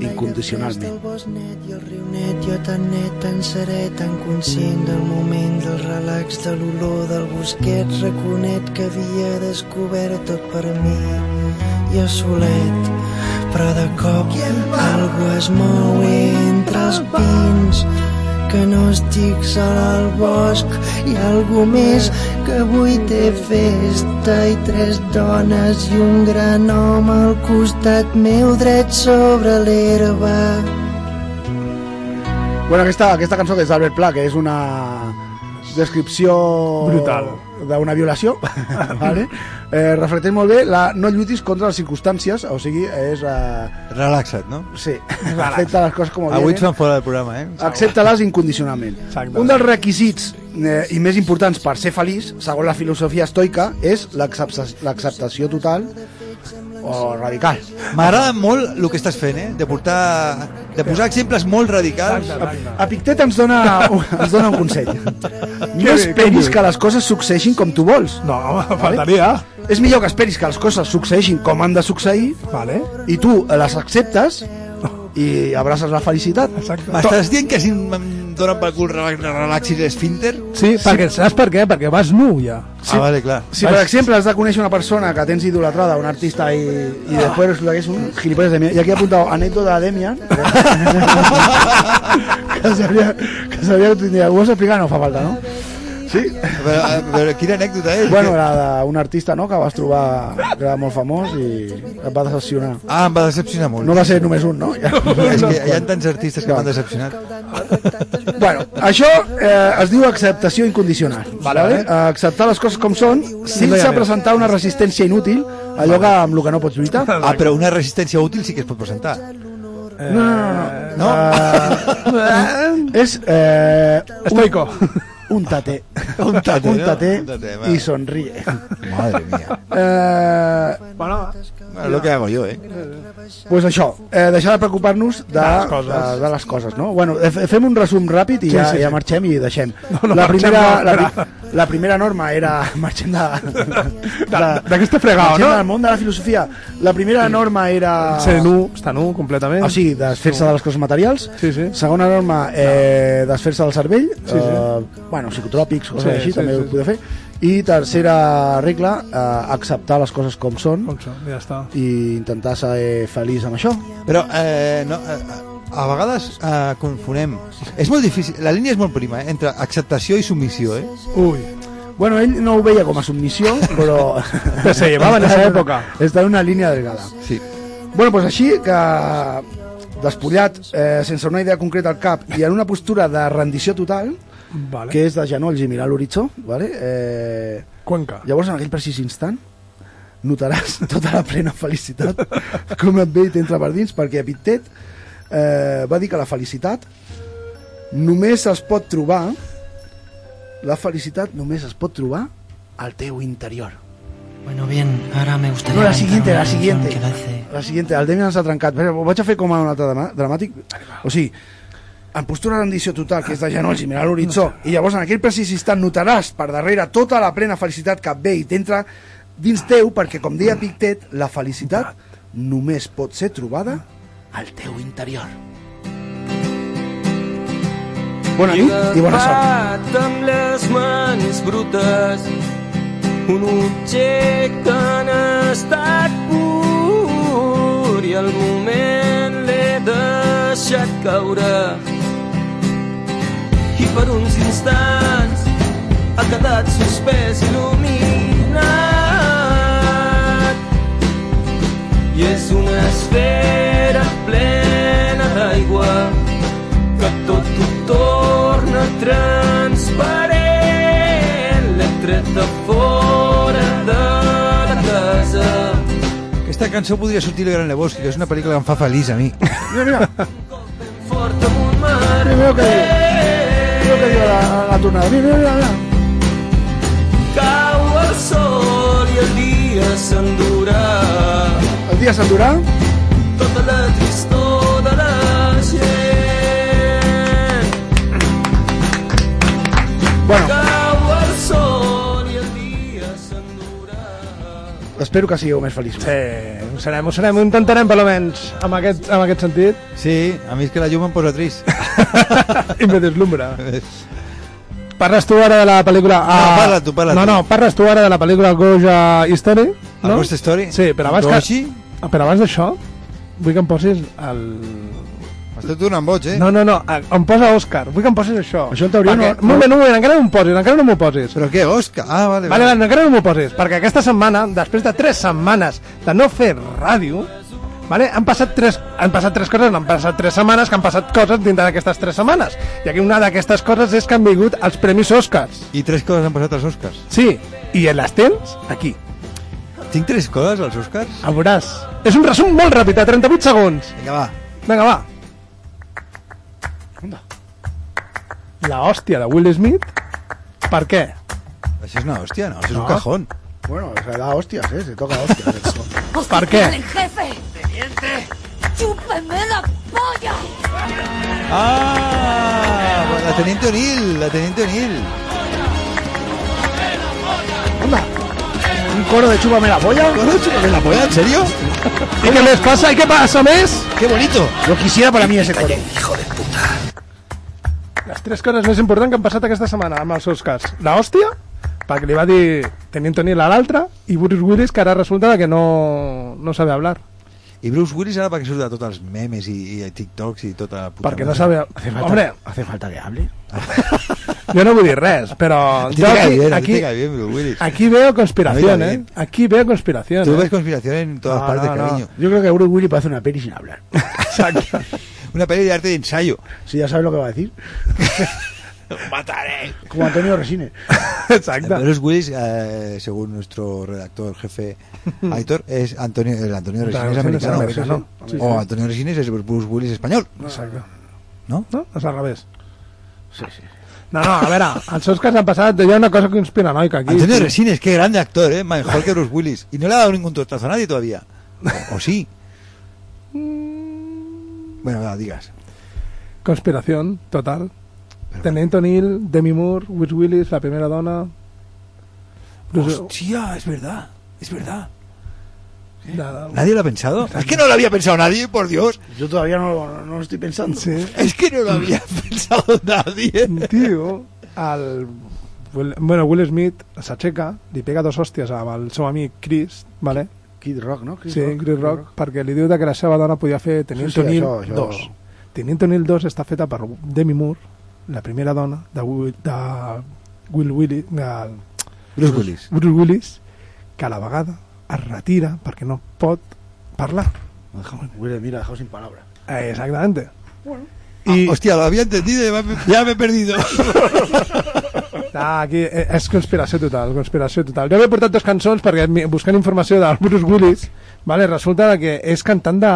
E: incondicionalment.
G: Bosc net, jo riu net, jo tan net, tan serè, tan conscient del moment, del relax, de l'olor del bosquet, reconec que havia descobert tot per mi. Jo solet, però de cop algú es mou entre els pins, que no estic sol al bosc, hi ha algú més que avui té festa i tres dones i un gran home al costat meu dret sobre l'herba.
E: Bueno, aquesta, aquesta cançó que és d'Albert Pla, que és una descripció
D: Brutal.
E: d'una violació vale? eh, reflecteix molt bé la no lluitis contra les circumstàncies o sigui, és eh,
B: Relaxa't, no?
E: sí, accepta les coses com
B: Avui
E: vienen
B: ens fan fora del programa, eh?
E: accepta-les incondicionalment.
D: Exacte.
E: Un dels requisits eh, i més importants per ser feliç, segons la filosofia estoica, és l'accepta- l'acceptació total o radical.
B: M'agrada molt el que estàs fent, eh? De portar... De posar exemples molt radicals.
E: Epictet ens dona, ens dona un consell.
D: bé,
E: No esperis
D: com
E: que les coses succeeixin com tu vols.
D: No, home, faltaria.
E: És millor que esperis que les coses succeeixin com han de succeir
D: Vale.
E: i tu les acceptes i abraces la felicitat.
D: Exacte.
B: M'estàs dient que si em donen pel cul relax- relaxis l'esfínter?
D: Sí, perquè saps per què? Perquè vas nu ja.
B: Ah, vale, clar.
E: Si, per exemple, has de conèixer una persona que tens idolatrada, un artista, i, i després resulta que és un gilipolles de mi. I aquí he apuntat anècdota de Demian, que sabia que, sabia que tindria. Ho vols explicar? No fa falta, no? Sí?
B: A veure, a veure, quina anècdota eh? és?
E: Bueno, era d'un artista, no?, que vas trobar, que era molt famós i et va decepcionar.
B: Ah, em va decepcionar molt.
E: No va ser només un, no?
B: És que hi ha tants artistes que m'han decepcionat.
E: Bueno, això eh, es diu acceptació incondicional. Vale, vale? Acceptar les coses com són, sense
D: Exactament.
E: presentar una resistència inútil, allò que, amb el que no pots lluitar.
B: Ah, però una resistència útil sí que es pot presentar.
E: Eh, No, no, no.
B: No?
E: Uh, és eh,
D: Estoico.
E: un tate.
B: Un tate,
E: un
B: no?
E: tate,
B: Un tate,
E: i
B: vale.
E: sonríe.
B: Madre mía.
E: Eh,
D: Bueno,
B: Bueno, lo que hago yo, eh?
E: pues això, eh, deixar de preocupar-nos de, de,
D: les coses.
E: de, de les coses, no? Bueno, eh, fe- fem un resum ràpid i
D: Sí,
E: ja,
D: sí,
E: ja
D: sí.
E: marxem i deixem.
D: No, no
E: la,
D: marxem,
E: primera,
D: no,
E: la,
D: espera.
E: pri- la primera norma era marxem de...
D: de- d'aquesta fregada,
E: marxem
D: no?
E: del món de la filosofia. La primera norma era...
D: ser nu, estar nu completament.
E: O sigui, desfer-se de les coses materials.
D: Sí, sí.
E: Segona norma, eh, desfer-se del cervell.
D: Sí, sí.
E: Eh, bueno, psicotròpics, coses
D: Sí,
E: així,
D: sí,
E: també
D: sí.
E: ho poder fer. I tercera regla, eh, acceptar les coses com són
D: Com són, ja està.
E: i intentar ser feliç amb això.
B: Però, eh, no, eh, a vegades eh, confonem. És molt difícil, la línia és molt prima, eh? Entre acceptació i submissió, eh?
D: Ui,
E: Bueno, ell no ho veia com a submissió, però...
D: Però se llevava en esa època.
E: Està en una línia delgada.
B: Sí.
E: Bueno, doncs així que despullat, eh, sense una idea concreta al cap i en una postura de rendició total,
D: vale.
E: que és de genolls i mirar l'horitzó, vale? eh,
D: Cuenca.
E: Llavors, en aquell precís instant, notaràs tota la plena felicitat com et ve i t'entra per dins, perquè Epictet eh, va dir que la felicitat només es pot trobar la felicitat només es pot trobar al teu interior.
G: Bueno, bien, ahora me gustaría...
E: No, la siguiente,
G: cantar
E: la
G: una
E: siguiente.
G: canción que dice-
E: La siguiente, el Demian s'ha trencat. Però ho vaig a fer com a un altre drama- dramàtic. O sigui, en postura de rendició total, que és de genolls i mirar l'horitzó, i llavors en aquell precís instant notaràs per darrere tota la plena felicitat que et ve i t'entra dins teu, perquè, com deia Pictet, la felicitat només pot ser trobada al teu interior. Bona nit i bona sort.
A: Lligat amb les mans brutes un objecte en estat pur i al moment l'he deixat caure i per uns instants ha quedat suspès il·luminat i és una esfera plena d'aigua que tot ho torna transparent. L'he tret de fora de la casa.
B: Aquesta cançó podria sortir al Gran Lebowski, que és una pel·lícula que em fa feliç a mi.
E: Mira, mira.
A: Fort amunt
E: Primero que diu. Primero que diu la, la tornada. Mira, mira, mira.
H: Cau el sol i el dia s'endurà
E: El dia s'endurà.
H: tota la tristor de la gent.
E: Bueno,
H: Cau el sol i el dia s'endurà.
E: espero que sigueu més feliços.
D: Sí, ho serem, ho serem, ho intentarem per almenys, amb aquest, amb aquest sentit,
B: Sí, a mi és que la llum em posa trist.
D: i me deslumbra. Parles tu ara de la pel·lícula... No,
B: parla tu, parla
D: No,
B: tu.
D: no, parles tu ara de la pel·lícula Goja History,
B: A
D: no?
B: Ghost Story?
D: Sí, però abans que-
B: Goshi?
D: Ah, Però abans d'això, vull que em posis el...
B: M'estàs tornant boig, eh?
D: No, no, no, eh, em posa Òscar, vull que em posis això.
E: Això en teoria
D: perquè...
E: no-
D: Un moment, un moment, encara no m'ho posis, encara no m'ho posis.
B: Però què, Òscar? Ah, vale,
D: Vale, vale, encara no m'ho posis, perquè aquesta setmana, després de tres setmanes de no fer ràdio, vale, han, passat tres, han passat tres coses, han passat tres setmanes, que han passat coses dintre d'aquestes tres setmanes. I aquí una d'aquestes coses és que han vingut els Premis Òscars.
B: I tres coses han passat als Oscars.
D: Sí, i les tens aquí.
B: Tinc tres coses als Oscars?
D: El veuràs. És un resum molt ràpid, de 38 segons.
B: Vinga, va.
D: Vinga, va. La hòstia de Will Smith. Per què?
B: Això és una hòstia, no? Això és
D: No.
B: un cajón.
E: Bueno, se da hostias, eh? Se toca hostias.
D: ¿Por qué?
I: ¡El jefe! ¡Chúpeme la polla!
B: Ah! La Teniente O'Neill, la Teniente O'Neill.
E: Un coro de chúpame la polla.
B: Bueno, chúpame la polla, ¿en serio?
D: I què més passa? I què passa més?
B: ¡Qué bonito!
E: Yo quisiera para mí ese coro.
D: Les tres coses més importants que han passat aquesta setmana amb els Oscars. La hòstia, perquè li va dir Tenint Tony a l'altra, i Bruce Willis, que ara resulta que no, no sabe hablar.
B: I Bruce Willis ara perquè surt de tots els memes i, i TikToks i tota la puta
D: Perquè no
B: merda.
D: sabe... Hombre,
E: ¿Hace falta que hable?
D: jo no vull dir res, però...
B: A ti
D: jo
B: te cae
D: aquí-
B: bien, a ti
D: aquí,
B: te cae bien, Bruce Willis.
D: aquí veo conspiración,
B: No, ya
D: eh?
B: bien.
D: Aquí veo conspiración,
B: Tú ves
D: eh?
B: conspiración en todas
D: No,
B: partes,
D: no, no.
B: cariño.
E: Yo creo que Bruce Willis puede hacer una peli sin hablar.
D: Exacte.
B: Una peli de arte de ensayo.
E: Si ya sabes lo que va a decir.
B: ¡Mataré!
E: Como Antonio Resines.
D: Exacte.
B: Bruce Willis, eh, según nuestro redactor jefe Aitor, es Antonio, el Antonio Resines
D: Resines
B: americano.
D: americano. Sí, sí.
B: O Antonio Resines es Bruce Willis español,
D: Exacte.
B: ¿no?
D: No? És al revés. Sí, sí. No, no, a veure, els Oscars han passat... Hi ha una cosa conspiranoica aquí.
B: Antonio Resines, qué grande actor, ¿eh? Mejor que Bruce Willis. Y no le ha dado ningún tortazo a nadie todavía. ¿O, o sí? Bueno, va, digas.
D: Conspiración total. Tenente O'Neill, Demi Moore, Wiz Willis, la primera dona... Bruce-
B: Hostia, es verdad. Es verdad.
D: la-
B: ¿Nadie lo ha pensado? Es que no lo había pensado nadie, por Dios.
E: Yo todavía no, lo- no lo estoy pensando.
D: Sí.
B: Es que no lo había pensado nadie.
D: tio, el... Will- Bueno, Will Smith s'aixeca, li pega dos hòsties amb el seu amic Chris, vale?
E: Kid Rock, ¿no? Chris
D: sí, Chris, Rock, perquè li diu de que la seva dona podia fer Tenint
E: Sí, sí,
D: sí, O'Neill
E: això, això.
D: 2. Tenint O'Neill 2 està feta per Demi Moore, la primera dona de Will, de Will Willis, de
B: Bruce Willis.
D: Bruce Willis, que a la vegada es retira perquè no pot parlar.
E: Will, mira, dejado sin palabras.
D: Eh, Exactamente.
B: Y... Ah, hostia, lo había entendido y ya me- ya me he perdido.
D: Ah, aquí eh, és conspiració total, conspiració total. Jo m'he portat dos cançons perquè mi- buscant informació del Bruce Willis, vale, resulta que és cantant de...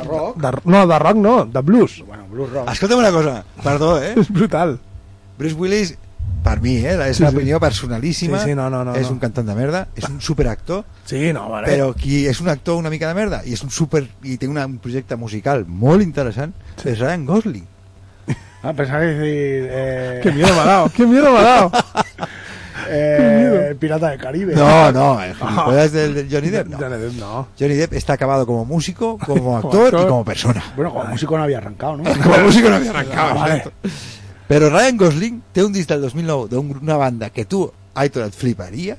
D: De
E: rock?
D: De, no, de rock no, de blues.
E: Bueno, Blue Rock.
B: Escolta'm una cosa, perdó, eh?
D: És brutal.
B: Bruce Willis, per mi, eh? És una
D: Sí, sí.
B: opinió personalíssima.
D: Sí, sí, no, no, no,
B: És
D: no.
B: un cantant de merda, és un superactor,
D: Sí, no, vale.
B: però qui és un actor una mica de merda i és un super... i té una, un projecte musical molt interessant, és Ryan Gosling.
E: Ah, pensaba que decir.
D: Que
E: Eh,
D: miedo me ha dado, que miedo me ha dado.
E: eh, el Pirata del Caribe.
B: No, no, el gilipollas del, del Johnny Depp,
D: Johnny
B: no.
D: Depp, no.
B: Johnny Depp está acabado como músico, como
D: Como
B: actor
D: actor.
B: y como persona.
E: Bueno, como músico no había arrancado, ¿no?
B: Como músico no había arrancado,
E: Vale.
B: exacto. Pero Ryan Gosling té un disc del 2009 d'una banda que tu, Aitor, et fliparia,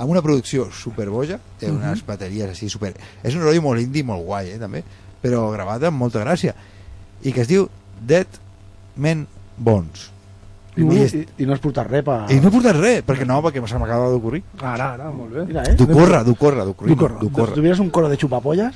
B: amb una producció superboja, té
D: Mhm.
B: unes bateries així super... És un rotllo molt indie, molt guai, eh, també, però gravat amb molta gràcia, i que es diu Dead Men Bones.
E: Y, no-
B: I,
E: y- y no es puta repa.
B: i no he portat res, perquè no, perquè se m'acaba d'ocorrir.
D: Ara, ara, molt bé.
E: Mira, ¿eh?
B: D'ho corre, d'ho corre, d'ho corre.
D: D'ho corre.
E: Si tuvieras un coro de chupapollas,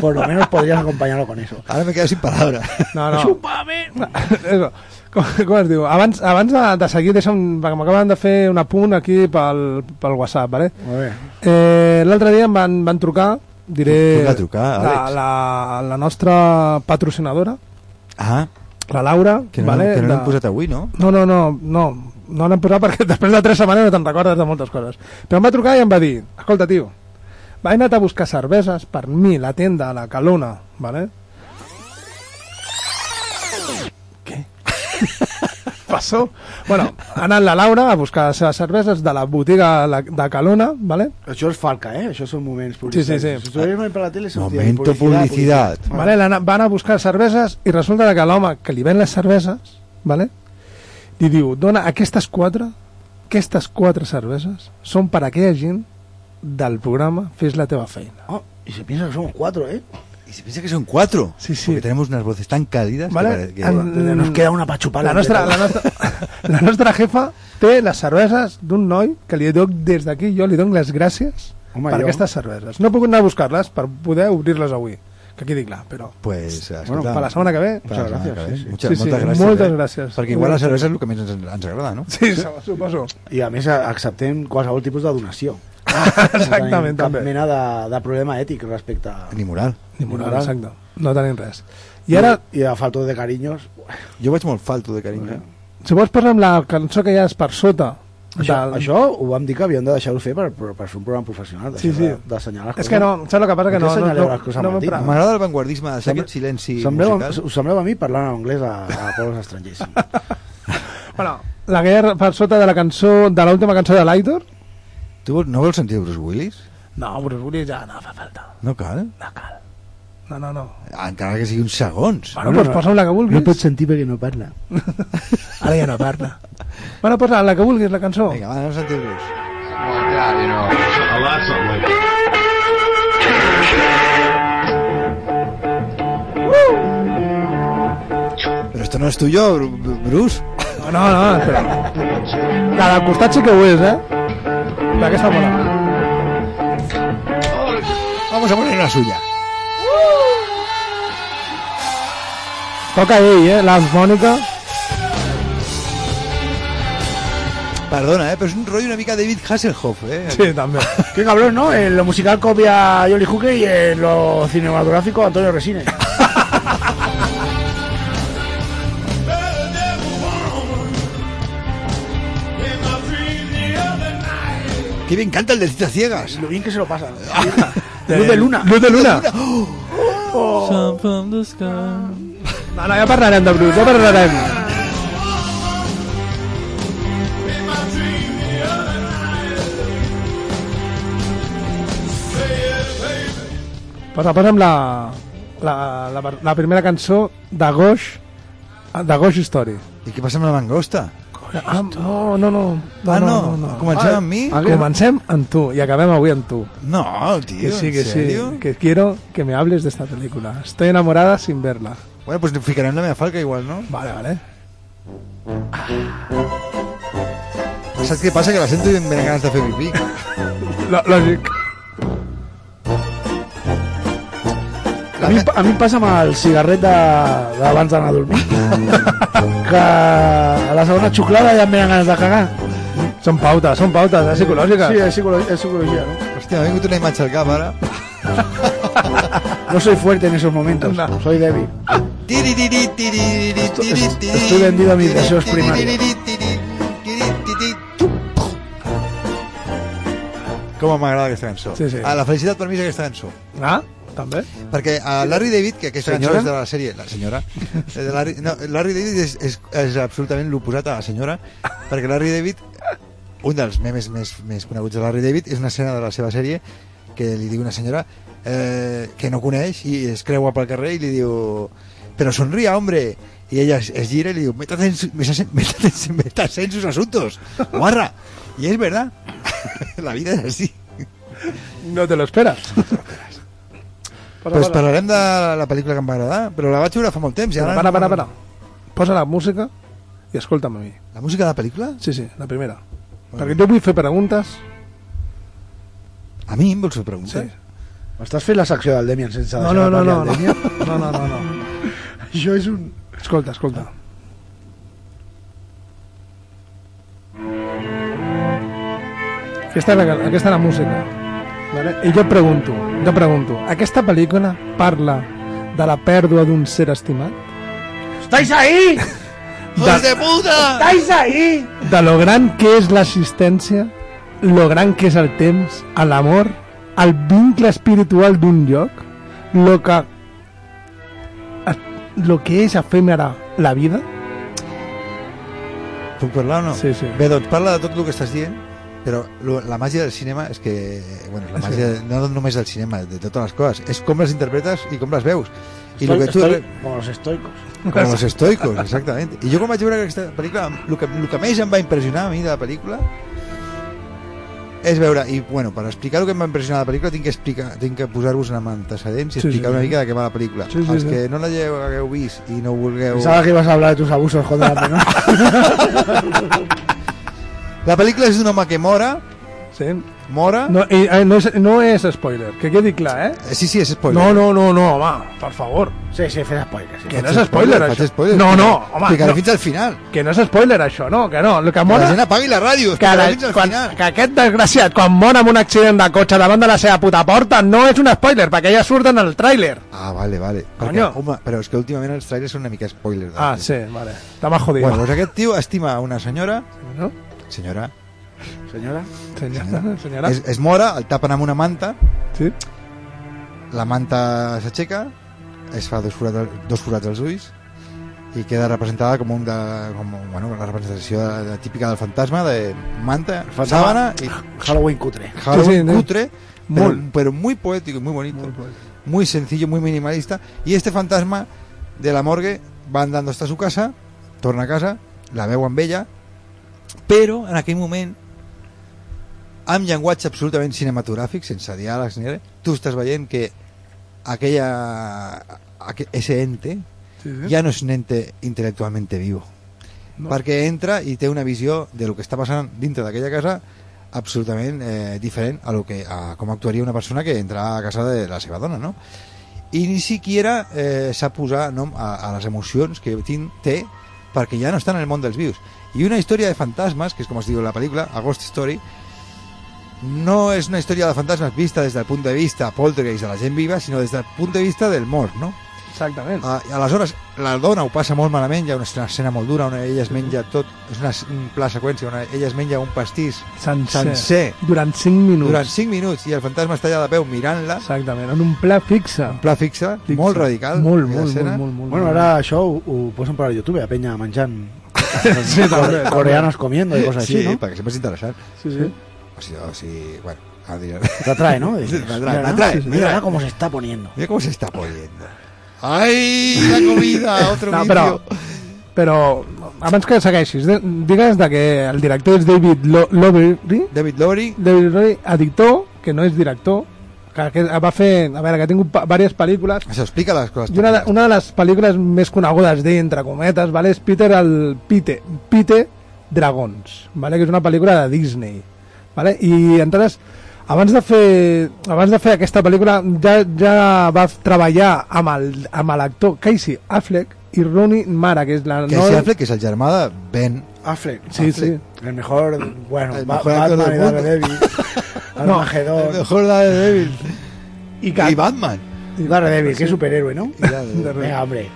E: por lo menos podrías acompañarlo con eso.
B: Ara me quedo sin palabra.
D: No, no. Eso. Com, com es diu? Abans, abans de, de seguir, deixa'm, perquè m'acaben de fer un apunt aquí pel, pel WhatsApp, vale?
E: A ver.
D: Eh, L'altre dia em van, van trucar, diré...
B: Truca, truca,
D: la,
B: Àlex.
D: la, la nostra patrocinadora,
B: Ah,
D: la Laura,
B: Que no,
D: vale,
B: que no
D: de-
B: l'hem posat avui, no?
D: No, no, no, no, no l'hem posat perquè després de tres setmanes no te'n recordes de moltes coses. Però em va trucar i em va dir, escolta, tio, he anat a buscar cerveses per mi, la tenda, a la calona, vale? Què? Passó? Bueno, ha anat la Laura a buscar les seves cerveses de la botiga la- de Calona, vale?
E: Això és falca, eh? Això són moments
D: sí, sí.
E: publicitaris. Si estuvéssim per la tele... sortia
B: Momento publicidad.
D: ¿vale? La- van a buscar cerveses i resulta que l'home que li ven les cerveses, ¿vale? li diu, dona aquestes quatre, aquestes quatre cerveses són per a aquella gent del programa Fes la teva feina.
E: Oh, y se piensa que somos cuatro, ¿eh?
B: Y se piensa que son cuatro.
D: Sí, sí.
B: Porque tenemos unas voces tan cálidas.
D: Vale,
B: Que, pare- que-
D: en-
E: Nos queda una pachupada.
D: Mm. La nostra, la, nostra, la nostra jefa té les cerveses d'un noi que li doc des d'aquí, jo li dono les gràcies
E: Home,
D: per
E: jo.
D: aquestes cerveses. No he pogut anar a buscar-les per poder obrir-les avui, que quedi clar, però
B: Pues, escolta,
D: per la setmana que ve...
B: per la
E: Muchas
B: setmana
E: gracias,
B: que ve.
E: sí, sí.
B: Mucha-
D: Sí, sí,
B: moltes gràcies.
D: moltes
B: eh?
D: gràcies.
B: Perquè igual la cervesa és el que més ens, ens agrada, no?
D: Sí, suposo.
E: I a més acceptem qualsevol tipus de donació.
D: Exactament,
E: No tenim cap
D: també.
E: mena de, de problema ètic respecte a...
B: Ni moral.
D: Ni moral,
E: Moral.
D: exacte. No tenim res. I ara,
E: I a falta de carinyos...
B: Jo vaig molt falto de carinyo. eh?
D: si vols parlar amb la cançó que hi ha és per sota...
E: Això,
D: del-
E: això ho vam dir que havíem de deixar-ho fer per, per, per fer un programa professional,
D: Sí,
E: deixar
D: sí.
E: de- d'assenyalar les
D: És que no, saps el que passa?
E: Per
D: Que
E: què
D: no, no,
E: assenyaleu les
D: no,
E: coses,
D: no,
E: Martí?
D: m'empra-
B: Ah. M'agrada el vanguardisme, deixar
E: Sembla-
B: aquest silenci
E: Sembleu,
B: musical.
E: us sembleu a mi parlant en anglès a, a pobles estrangers.
D: Bueno, la guerra per sota de la cançó, de l'última cançó de l'Aitor?
B: Tu vols- no vols sentir Bruce Willis?
D: No, Bruce Willis ja no fa falta.
B: No cal.
D: No cal. No, no, no.
B: Encara que sigui uns segons.
D: Bueno, doncs posa'm la que vulguis.
E: sentir perquè no parla.
D: Ara ja no parla. bueno, posa la que vulguis, la cançó.
B: Vinga, va, anem a sentir Bruce. Pero esto no es tuyo, Bru- Bruce.
D: No, no, no, espera. La del costat sí que ho és, eh? D'aquesta mola.
B: Vamos a poner una suya.
D: Toca ell, eh? L'harmònica.
B: Perdona, eh, però és un rotllo una mica David Hasselhoff, eh?
D: Sí, també.
E: Qué cabrón, ¿no? En lo musical copia Jolly Hooker y en lo cinematográfico Antonio Resines.
B: Que me encanta el de citas ciegas.
E: Lo bien que se lo pasa. Luz de luna.
D: Luz de luna.
H: Shine from the sky.
D: No, no, ja parlarem de Bruce, ja parlarem. Posa, posa'm la, la, la, la primera cançó de Gosh, de Gosh Story.
B: I què passa amb la mangosta?
D: Ah, no, no, no. no,
B: Ah,
D: no,
B: no,
D: no, no.
B: comencem amb mi?
D: Ah, Comencem amb tu i acabem avui amb tu.
B: No, tio,
D: Que sí,
B: en
D: que sí.
B: serio?
D: Que quiero que me hables de esta película. Estoy enamorada sin verla.
B: Bueno, pues ficarem la meva falca igual, no?
D: Vale, vale.
B: Saps què passa? Que la sento i em venen ganes de fer pipí.
D: Lo- Lògic.
E: A mi, a mi em passa amb el cigarret de- d'abans d'anar a dormir. que a la segona xuclada ja em venen ganes de cagar.
D: Són pautes, són pautes, eh, psicològiques.
E: Sí, és psicologia, és psicologia no?
B: Hòstia, m'ha vingut una imatge al cap, ara.
E: No soy fuerte en esos momentos,
D: No.
E: soy débil.
B: Estoy
E: estoy vendido a mis deseos primarios.
B: Com m'agrada aquesta cançó.
D: Sí, sí.
B: Ah, la felicitat per mi és aquesta cançó.
D: Ah, també?
B: Perquè a Larry David, que aquesta
D: Senyora?
B: cançó és de la sèrie... La senyora. Eh, de Larry, no, Larry David és, és, és absolutament l'oposat a la senyora, perquè Larry David, un dels memes més, més coneguts de Larry David, és una escena de la seva sèrie que li diu una senyora eh, que no coneix i es creua pel carrer i li diu... Però sonria, hombre! I ella es, es gira i li diu métate en, su- métase- métate en su- métase en sus asuntos, guarra! I és verdad. la vida és així.
D: No te lo esperas.
B: Pues parlarem de la pel·lícula que em va agradar, però la vaig veure fa molt temps. I
D: Para,
B: ara
D: para,
B: no-
D: para, para. Posa la música i escolta'm a mi.
B: La música de la pel·lícula?
D: Sí, sí, la primera. Perquè jo vull fer preguntes.
B: A mi em vols fer
D: Sí.
B: preguntes?
E: Estàs fent la secció del Demian sense
D: No,
E: deixar
D: no, no,
E: de parlar
D: no. No,
E: al Demian?
D: no, no, no. no.
E: Això és un...
D: Escolta, escolta. Aquesta és, la, aquesta és la música. Vale? I jo pregunto, jo pregunto, aquesta pel·lícula parla de la pèrdua d'un ser estimat?
E: ¿Estáis ahí?
D: De,
B: puta!
E: ¿Estáis ahí?
D: de lo gran que és l'assistència, lo gran que és el temps, a l'amor, al vincle espiritual d'un lloc, lo que lo que és efèmera la vida,
B: Puc parlar o no?
D: Sí, sí.
B: Bé, doncs parla de tot el que estàs dient, però lo- la màgia del cinema és que... Bueno, la màgia no només del cinema, de totes les coses. És com les interpretes i com les veus. I lo que tu...
E: estoy como los estoicos.
B: Com els estoicos, exactament. I jo quan vaig veure aquesta pel·lícula, el que, el que més em va impressionar a mi de la pel·lícula és veure, i bueno, per explicar el que em va impressionar de la pel·lícula tinc que, explicar, tinc que posar-vos en antecedents i
D: Sí, sí,
B: explicar una
D: sí.
B: mica de què va la pel·lícula.
D: Sí, sí,
B: Els
D: sí.
B: que no la lleu- hagueu vist i no vulgueu...
E: Pensaba que ibas a hablar de tus abusos contra la menor.
B: La pel·lícula és d'un home que mora,
D: sí?
B: mora...
D: No, i, eh, no, és, no és spoiler, que quedi clar, eh?
B: Eh, Sí, sí, és spoiler.
D: No, no, no, no, home, per favor.
E: Sí, sí, fes spoilers.
D: Que no és spoiler,
B: Faig
D: això.
B: spoiler.
D: No, no, home,
B: Explicaré
D: no.
B: fins al final.
D: Que no és spoiler, això, no, que no. El que
B: Que
D: mora...
B: la gent apagui la ràdio.
D: que,
B: Explicaré fins
D: la,
B: al
D: quan,
B: final.
D: que aquest desgraciat, quan mor amb un accident de cotxe davant de la seva puta porta, no és un spoiler, perquè ja surt en el tràiler.
B: Ah, vale, vale. Perquè,
D: Coño.
B: home, però és que últimament els trailers són una mica spoiler. de la
D: Ah,
B: pel·lícula.
D: sí, vale. Està más jodido.
B: Bueno, doncs aquest tio estima una senyora...
D: no?
B: Senyora...
E: Señora.
D: Senyora, senyora.
B: Es, es mora, el tapen amb una manta,
D: Sí.
B: la manta s'aixeca, es fa dos forats, al- dos forats als ulls i queda representada com, un de, com bueno, la representació de, de, típica del fantasma de manta, sábana i
E: Halloween cutre.
B: Halloween
D: sí, no.
B: cutre, pero,
D: Molt.
B: pero muy poético y muy bonito, muy, sencillo, muy minimalista. Y este fantasma de la morgue va andando hasta su casa, torna a casa, la veu amb ella, però en aquell moment amb llenguatge absolutament cinematogràfic, sense diàlegs ni res, tu estàs veient que aquella, aqu ese ente
D: Sí, sí.
B: ja no és un ente intel·lectualmente vivo
D: No.
B: perquè entra i té una visió de lo que està passant dintre d'aquella casa absolutament eh, diferent a, lo que, a com actuaria una persona que entra a casa de la seva dona no? i ni siquiera eh, sap posar nom a, a les emocions que tin, té perquè ja no està en el món dels vius i una història de fantasmes, que és com es diu la pel·lícula A Ghost Story no és una història de fantasmes vista des del punt de vista poltergeist de la gent viva sinó des del punt de vista del mort no?
D: Exactament.
B: Ah, i aleshores, la dona ho passa molt malament, hi ha una escena- escena molt dura on ella es menja tot, és una, s- un pla seqüència on ella es menja un pastís
D: Sencer.
B: sencer
D: Durant 5 minuts.
B: durant 5 minuts i el fantasma està allà de peu mirant-la,
D: Exactament, en un pla fixe.
B: un pla fixe,
D: Fixe.
B: molt radical.
D: Molt,
B: aquella
D: molt,
B: escena.
D: molt, molt, molt.
E: Bueno, ahora uh, pues això ho, ho posen per al YouTube, a penya menjant
D: Sí, també.
E: coreanos comiendo i coses
B: Sí,
E: així, no?
B: perquè sempre és interessant.
D: Sí, sí.
B: O sigui, o sigui bueno, a dir...
E: T'atrae, no? Dices,
B: T'atrae,
E: mira,
B: t'atrae,
E: sí, sí,
B: mira.
E: Mira mira cómo se está poniendo.
B: Mira com s'està poniendo. Ai, la comida, otro
D: No,
B: vídeo.
D: però, però abans que segueixis, de- digues de que el director és David Lo- Lowery,
B: David Lowry,
D: David Lowery, editor, que no és director, que, que va fer, a veure, que ha tingut pa- diverses pel·lícules,
B: això explica les coses.
D: i una de, una de les pel·lícules més conegudes d'ell, entre cometes, vale, és Peter el Pite, Pite Dragons, vale, que és una pel·lícula de Disney. Vale? I aleshores, abans de fer, abans de fer aquesta pel·lícula ja, ja va treballar amb el- amb l'actor Casey Affleck i Rooney Mara, que és la...
B: Que
D: no-
B: no... que és el germà de Ben.
E: Affleck.
D: Sí, sí.
E: El mejor, bueno,
B: El
E: Ba-
B: mejor actor del
E: Batman y
B: mundo.
E: Daredevil.
B: El
E: Armagedón.
B: mejor Daredevil.
D: I, que,
B: I Batman.
E: Daredevil, qué superhéroe, ¿no?
B: I Daredevil.
E: Venga, hombre.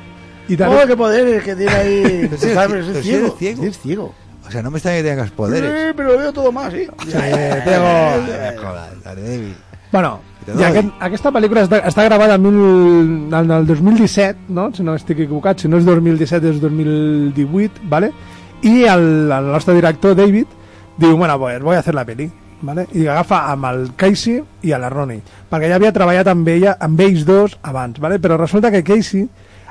D: i també,
E: Oh, qué poderes que tiene ahí.
B: Pero si eres
E: Sabes,
B: ci-
E: es
B: pero si eres
E: ciego.
B: ciego.
E: Es ciego.
B: O sea, no me extraña que tengas poderes.
E: Sí, pero veo todo más, ¿eh? sí.
B: Eh, joder, Daredevil.
D: Bueno,
B: Te
D: i
B: doy.
D: aquest, aquesta pel·lícula està, està gravada en, mil, en el 2017, no? si no estic equivocat, si no és 2017 és 2018, ¿vale? i el, el nostre director, David, diu, bueno, pues voy a hacer la peli, ¿vale? i agafa amb el Casey i a la Ronnie, perquè ja havia treballat amb, ella, amb ells dos abans, ¿vale? però resulta que Casey,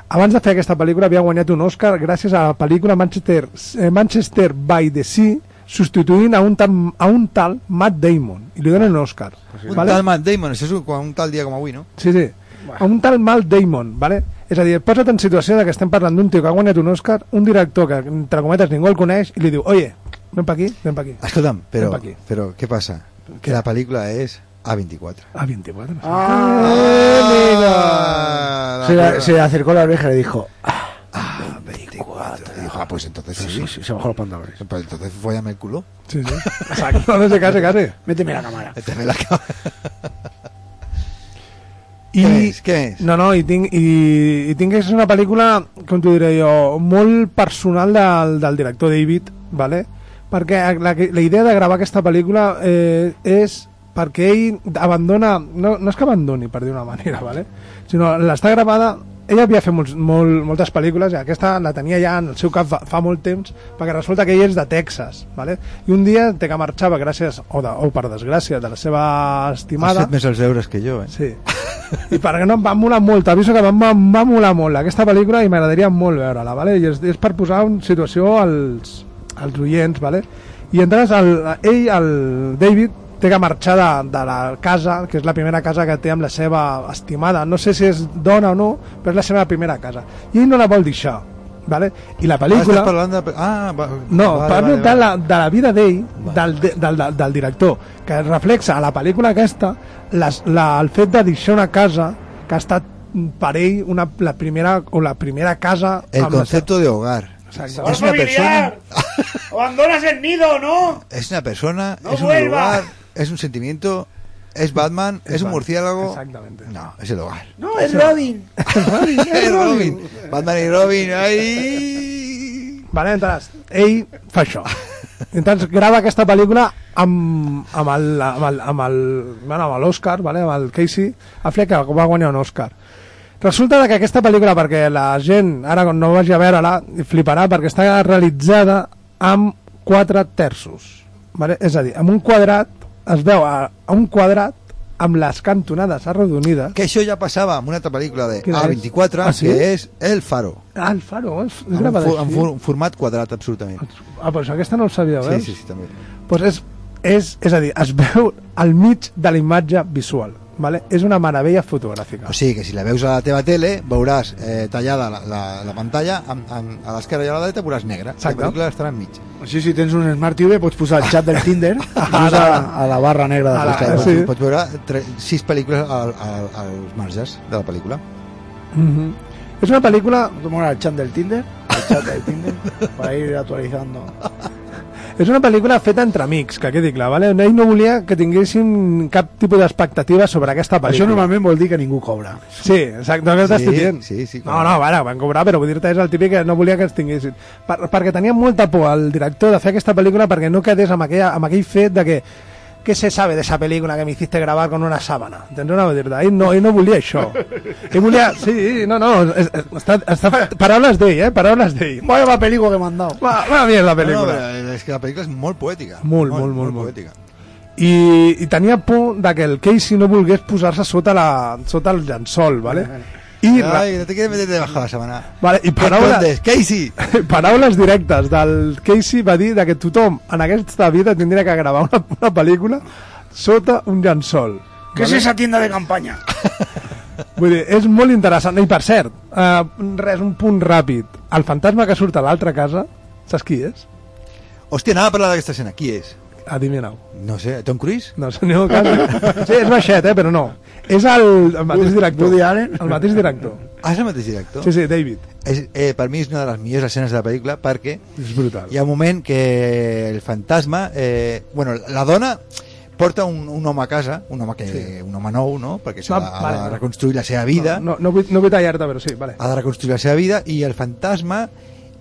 D: abans de fer aquesta pel·lícula, havia guanyat un Oscar gràcies a la pel·lícula Manchester, eh, Manchester by the Sea, substituint a un, tam, a un tal Matt Damon, i li donen un Oscar.
B: Un tal Matt Damon, això és un, un tal dia com avui, no?
D: Sí, sí. A un tal Mal Damon, ¿vale? És a dir, posa't en situació de que estem parlant d'un tio que ha guanyat un Òscar, un director que, entre cometes, ningú el coneix, i li diu, oye, ven pa aquí, ven pa aquí.
B: Escolta'm, però,
D: Ven pa aquí.
B: però què passa? Que la pel·lícula és A24.
D: A 24. Ah.
B: Ah,
E: Se, la- se acercó la oreja y le dijo,
B: A24. Dijo, ah, pues entonces sí.
E: sí, sí, se bajó los pantalones.
B: Pues entonces follame el culo.
D: Sí, sí. Exacte, no sé, quasi, quasi.
E: Méteme la cámara.
B: Te ve la cara.
D: I,
B: Què més? Què més?
D: No, no, i tinc, i, i tinc que és una pel·lícula, com t'ho diré jo, molt personal del, del director David, ¿vale? perquè la, que- la idea de gravar aquesta pel·lícula eh, és perquè ell abandona, no, no és que abandoni, per dir una manera, ¿vale? sinó l'està gravada ell havia fet molts, molt, moltes pel·lícules i aquesta la tenia ja en el seu cap fa, fa molt temps perquè resulta que ell és de Texas ¿vale? i un dia té que marxar perquè gràcies, o, de, o per desgràcia de la seva
B: Has
D: estimada
B: fet més els deures que jo, eh?
D: Sí. I per què no em va molar molt, t'aviso que em va, em va molar molt aquesta pel·lícula i m'agradaria molt veure-la, vale? I és, és per posar una situació als, als oients, vale? I entres, el, ell, el David, té que marxar de, de la casa, que és la primera casa que té amb la seva estimada. No sé si és dona o no, però és la seva primera casa. I ell no la vol deixar, vale? I
B: Ah,
D: la
B: estàs
D: pel·lícula...
B: parlant de... Ah, va,
D: No,
B: vale,
D: parlo
B: vale,
D: de,
B: vale.
D: la, de la vida d'ell, del, de- del, del, del director, que reflexa a la pel·lícula aquesta les, la, el fet de deixar una casa que ha estat mm, per ell una, la primera o la primera casa
B: El
D: amb la
B: concepto de hogar.
D: seva- Exacte.
B: Es una persona...
I: ¡Abandonas el nido, no!
B: Es una persona,
I: No
B: es un
I: vuelva.
B: lugar, es un sentimiento, es Batman, es, un
D: Batman,
B: murciélago.
D: exactamente.
B: No, es el hogar.
I: ¡No, es Robin!
B: Es Robin. Batman y Robin, ahí.
D: Vale, entonces, ell fa això. Entonces grava aquesta pel·lícula amb, amb el, amb el, amb el, bueno, amb l'Oscar, vale? amb el Casey Affleck, que va guanyar un Oscar. Resulta que aquesta pel·lícula, perquè la gent, ara quan no vagi a veure-la, fliparà, perquè està realitzada amb quatre terços. Vale? És a dir, amb un quadrat, es veu a, a un quadrat amb les cantonades arrodonides.
B: Que eso ya pasaba en una otra película de
D: ¿Qué
B: A24,
D: es? ¿Ah, sí?
B: que es El Faro.
D: Ah, el faro, és, és
B: En un,
D: gravada
B: fu- en
D: així.
B: fu- un format quadrat, absolutament.
D: Ah, doncs aquesta no el sabia,
B: Sí,
D: veus?
B: sí, sí, també.
D: pues és, és, és a dir, es veu al mig de la imatge visual. Vale? És una meravella fotogràfica.
B: O sigui que si la veus a la teva tele, veuràs eh, tallada la, la, la pantalla, amb, amb, a l'esquerra i a la dreta veuràs negra.
D: Exacte.
B: La pel·lícula estarà enmig.
E: Així, si tens un Smart TV, pots posar el xat del Tinder i posar a, a la barra negra de
D: A la-
E: la,
B: Clar,
D: sí.
B: pots, pots veure tre, sis pel·lícules al, al, als marges de la pel·lícula.
D: Mhm. És una pel·lícula
E: ¿No te mola el chat del Tinder? El chat del Tinder para ir actualizando.
D: és una pel·lícula feta entre amics, que quedi clar, vale? ell no volia que tinguéssim cap tipus d'expectativa sobre aquesta
E: Això
D: pel·lícula.
E: normalment vol dir que ningú cobra.
D: Sí, exacte, no t'estic
B: Sí,
D: dient.
B: sí, sí,
D: no,
B: clar.
D: no, vale, van cobrar, però vull dir-te, és el típic que no volia que ens tinguessin. Per, perquè tenia molta por al director de fer aquesta pel·lícula perquè no quedés amb, aquella, amb aquell fet de que ¿Qué se sabe de esa película que me hiciste grabar con una sábana? Tendré una verdad. Ell no, ell no volia això. Ell volia... Sí, no, no. es- es- Està, està, paraules d'ell, eh? Paraules d'ell.
E: Vaya la película que me han dado.
D: Va, va bien la
B: No, no,
D: pel·lícula.
B: però és que la pel·lícula és molt poètica.
D: Molt, molt, molt, molt.
B: poètica.
D: i, i tenia por de que el Casey no volgués posar-se sota, la, sota el llençol, ¿vale? I, ra-
B: Ai, no te quieres meter debajo de la semana.
D: vale, i
B: ¿Qué
D: paraules...
B: escondes, Casey?
D: paraules directes del Casey va dir de que tothom en aquesta vida tindria que gravar una, una pel·lícula sota un llençol.
I: ¿Qué es esa tienda de campaña?
D: Vull dir, és molt interessant. I per cert, eh, res, un punt ràpid. El fantasma que surt a l'altra casa, saps qui és?
B: Hòstia, anava a parlar d'aquesta escena. Qui és?
D: Adivineu.
B: No sé, Tom Cruise?
D: No, senyor Casa. Sí, és baixet, eh, però no. És el, el mateix director.
E: Woody Allen?
D: El mateix director.
B: Ah, és el mateix director?
D: Sí, sí, David.
B: És, eh, per mi és una de les millors escenes de la pel·lícula perquè
D: És brutal.
B: hi ha un moment que el fantasma... Eh, bueno, la dona porta un, un home a casa, un home, que, sí. un home nou, no? Perquè s'ha
D: No,
B: de, ha
D: vale,
B: de
D: no.
B: reconstruir la seva vida.
D: No, no, vull, no vull tallar-te, però sí, vale.
B: ha de reconstruir la seva vida i el fantasma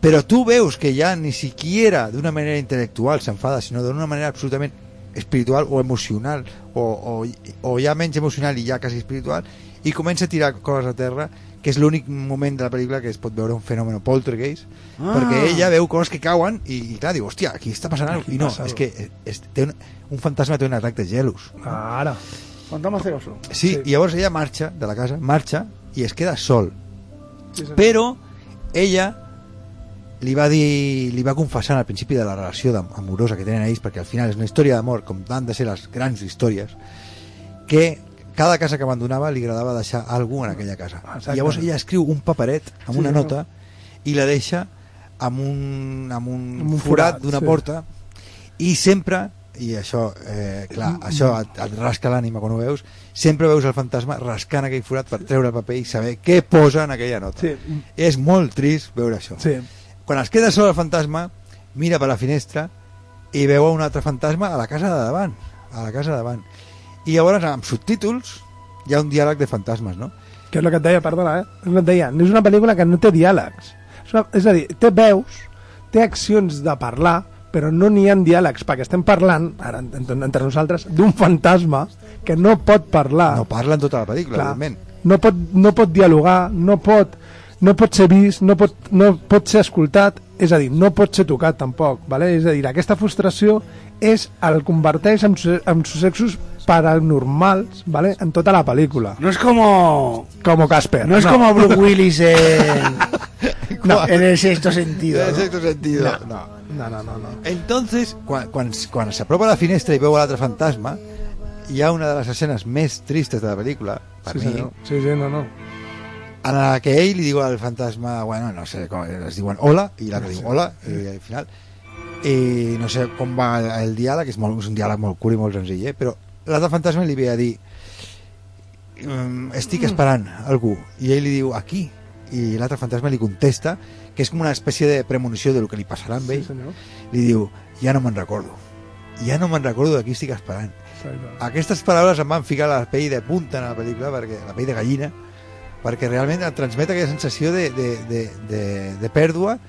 B: però tu veus que ja ni siquiera d'una manera intel·lectual s'enfada sinó d'una manera absolutament espiritual o emocional o, o, o ja menys emocional i ja quasi espiritual i comença a tirar coses a terra que és l'únic moment de la pel·lícula que es pot veure un fenomen poltergeist ah. perquè ella veu coses que cauen i, i clar, diu, hòstia, aquí està passant alguna cosa i no,
D: passa
B: és que és, té un, un fantasma té un atac de gelos
D: Ara.
E: Fantasma celoso.
B: Sí, i llavors ella marxa de la casa, marxa i es queda sol. Però ella li va dir, li va confessant al principi de la relació d'am- amorosa que tenen ells, perquè al final és una història d'amor, com han de ser les grans històries, que cada casa que abandonava li agradava deixar algú en aquella casa.
D: Exacte.
B: I llavors ella escriu un paperet amb una nota i la deixa amb un, amb un,
D: Amb un
B: forat,
D: forat,
B: d'una
D: sí.
B: porta i sempre i això, eh, clar,
D: Mm.
B: això et, et rasca l'ànima quan ho veus sempre veus el fantasma rascant aquell forat per treure el paper i saber què posa en aquella nota
D: Sí.
B: és molt trist veure això
D: Sí.
B: quan es queda sol el fantasma mira per la finestra i veu un altre fantasma a la casa de davant a la casa de davant i llavors amb subtítols hi ha un diàleg de fantasmes, no?
D: Que és el que et deia, perdona, eh? És el que et deia. És una pel·lícula que no té diàlegs. És, una, és a dir, té veus, té accions de parlar, però no n'hi ha diàlegs, perquè estem parlant, ara, en- en- entre nosaltres, d'un fantasma que no pot parlar.
B: No parlen tota la pel·lícula,
D: Ah. Clar.
B: evidentment.
D: no pot, no pot dialogar, no pot, no pot ser vist, no pot, no pot ser escoltat, és a dir, no pot ser tocat tampoc, vale? és a dir, aquesta frustració és el converteix en, su- en successos paranormals vale? en tota la pel·lícula.
I: No es como.
D: Com Casper.
I: No es como Bruce Willis en,
B: No,
I: en el sexto sentido.
B: En
I: ¿no?
B: cierto sentido.
D: No, no, no, no. no.
B: Entonces, quan, quan, quan s'apropa a la finestra i veu l'altre fantasma, hi ha una de les escenes més tristes de la pel·lícula, per
D: Sí,
B: mi,
D: senyor. sí, sí, no, no.
B: en la que ell li diu al fantasma, bueno, no sé, com, es diuen hola, i l'altre diu hola, i al final... I no sé com va el, el diàleg, és, molt, és un diàleg molt curt i molt senzill, eh? però l'altre fantasma li ve a dir "Mm, estic esperant algú, i ell li diu aquí, i l'altre fantasma li contesta que és com una espècie de premonició del que li passarà amb ell,
D: Sí, senyor.
B: li diu, ja no me'n recordo ja no me'n recordo de qui estic esperant
D: Exacte.
B: aquestes paraules em van ficar la pell de punta en la pel·lícula, perquè, la pell de gallina perquè realment et transmet aquella sensació de, de, de, de, de pèrdua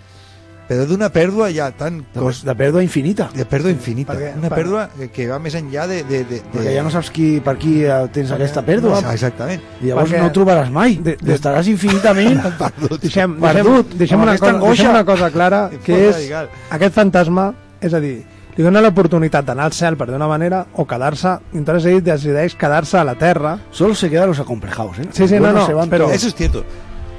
B: però d'una pèrdua ja tan cos,
E: De pèrdua infinita.
B: de pèrdua infinita
D: perquè-
B: una
D: per-
B: pèrdua que va més enllà de... de, de, de...
E: Perquè ja no saps qui, per qui eh, tens aquesta pèrdua.
B: Ah, exactament
E: I llavors
D: Perquè-
E: no ho trobaràs mai.
D: De- de-
E: Estaràs infinitament...
D: Deixem, deixem,
E: Perdut,
D: deixem,
E: amb
D: una
E: aquesta
D: cosa,
E: angoixa.
D: deixem una cosa clara, que
B: Fot
D: és
B: radical.
D: aquest fantasma, és a dir, li dona l'oportunitat d'anar al cel per d'una manera o quedar-se, i entonces ell decideix quedar-se a la terra.
E: Solo se quedan los acomplejados, ¿eh?
D: Sí, sí, no,
E: Bueno,
D: no,
E: se van
D: pero-
E: todos.
B: eso es cierto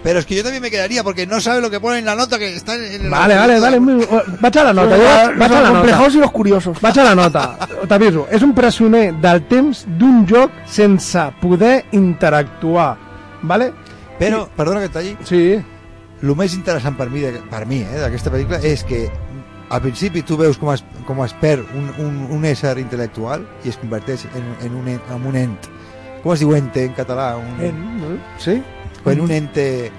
B: pero es que yo también me quedaría porque no sabe lo que pone en la nota que está en el...
D: Vale, vale, vale, muy- vaig a la nota, jo,
E: Los
D: vaig a la nota.
E: acomplejados y los curiosos.
D: Vaig a la nota, t'aviso. És un presoner del temps d'un joc sense poder interactuar, vale?
B: Pero, perdona que et talli,
D: Sí,
B: el més interessant per mi, de- per mi eh, d'aquesta pel·lícula és que al principi tu veus com es, com es perd un, un, un ésser intel·lectual i es converteix en, en, un, en, en un ent com es diu ente en català? Un,
D: en, no?
E: Sí?
B: en un ente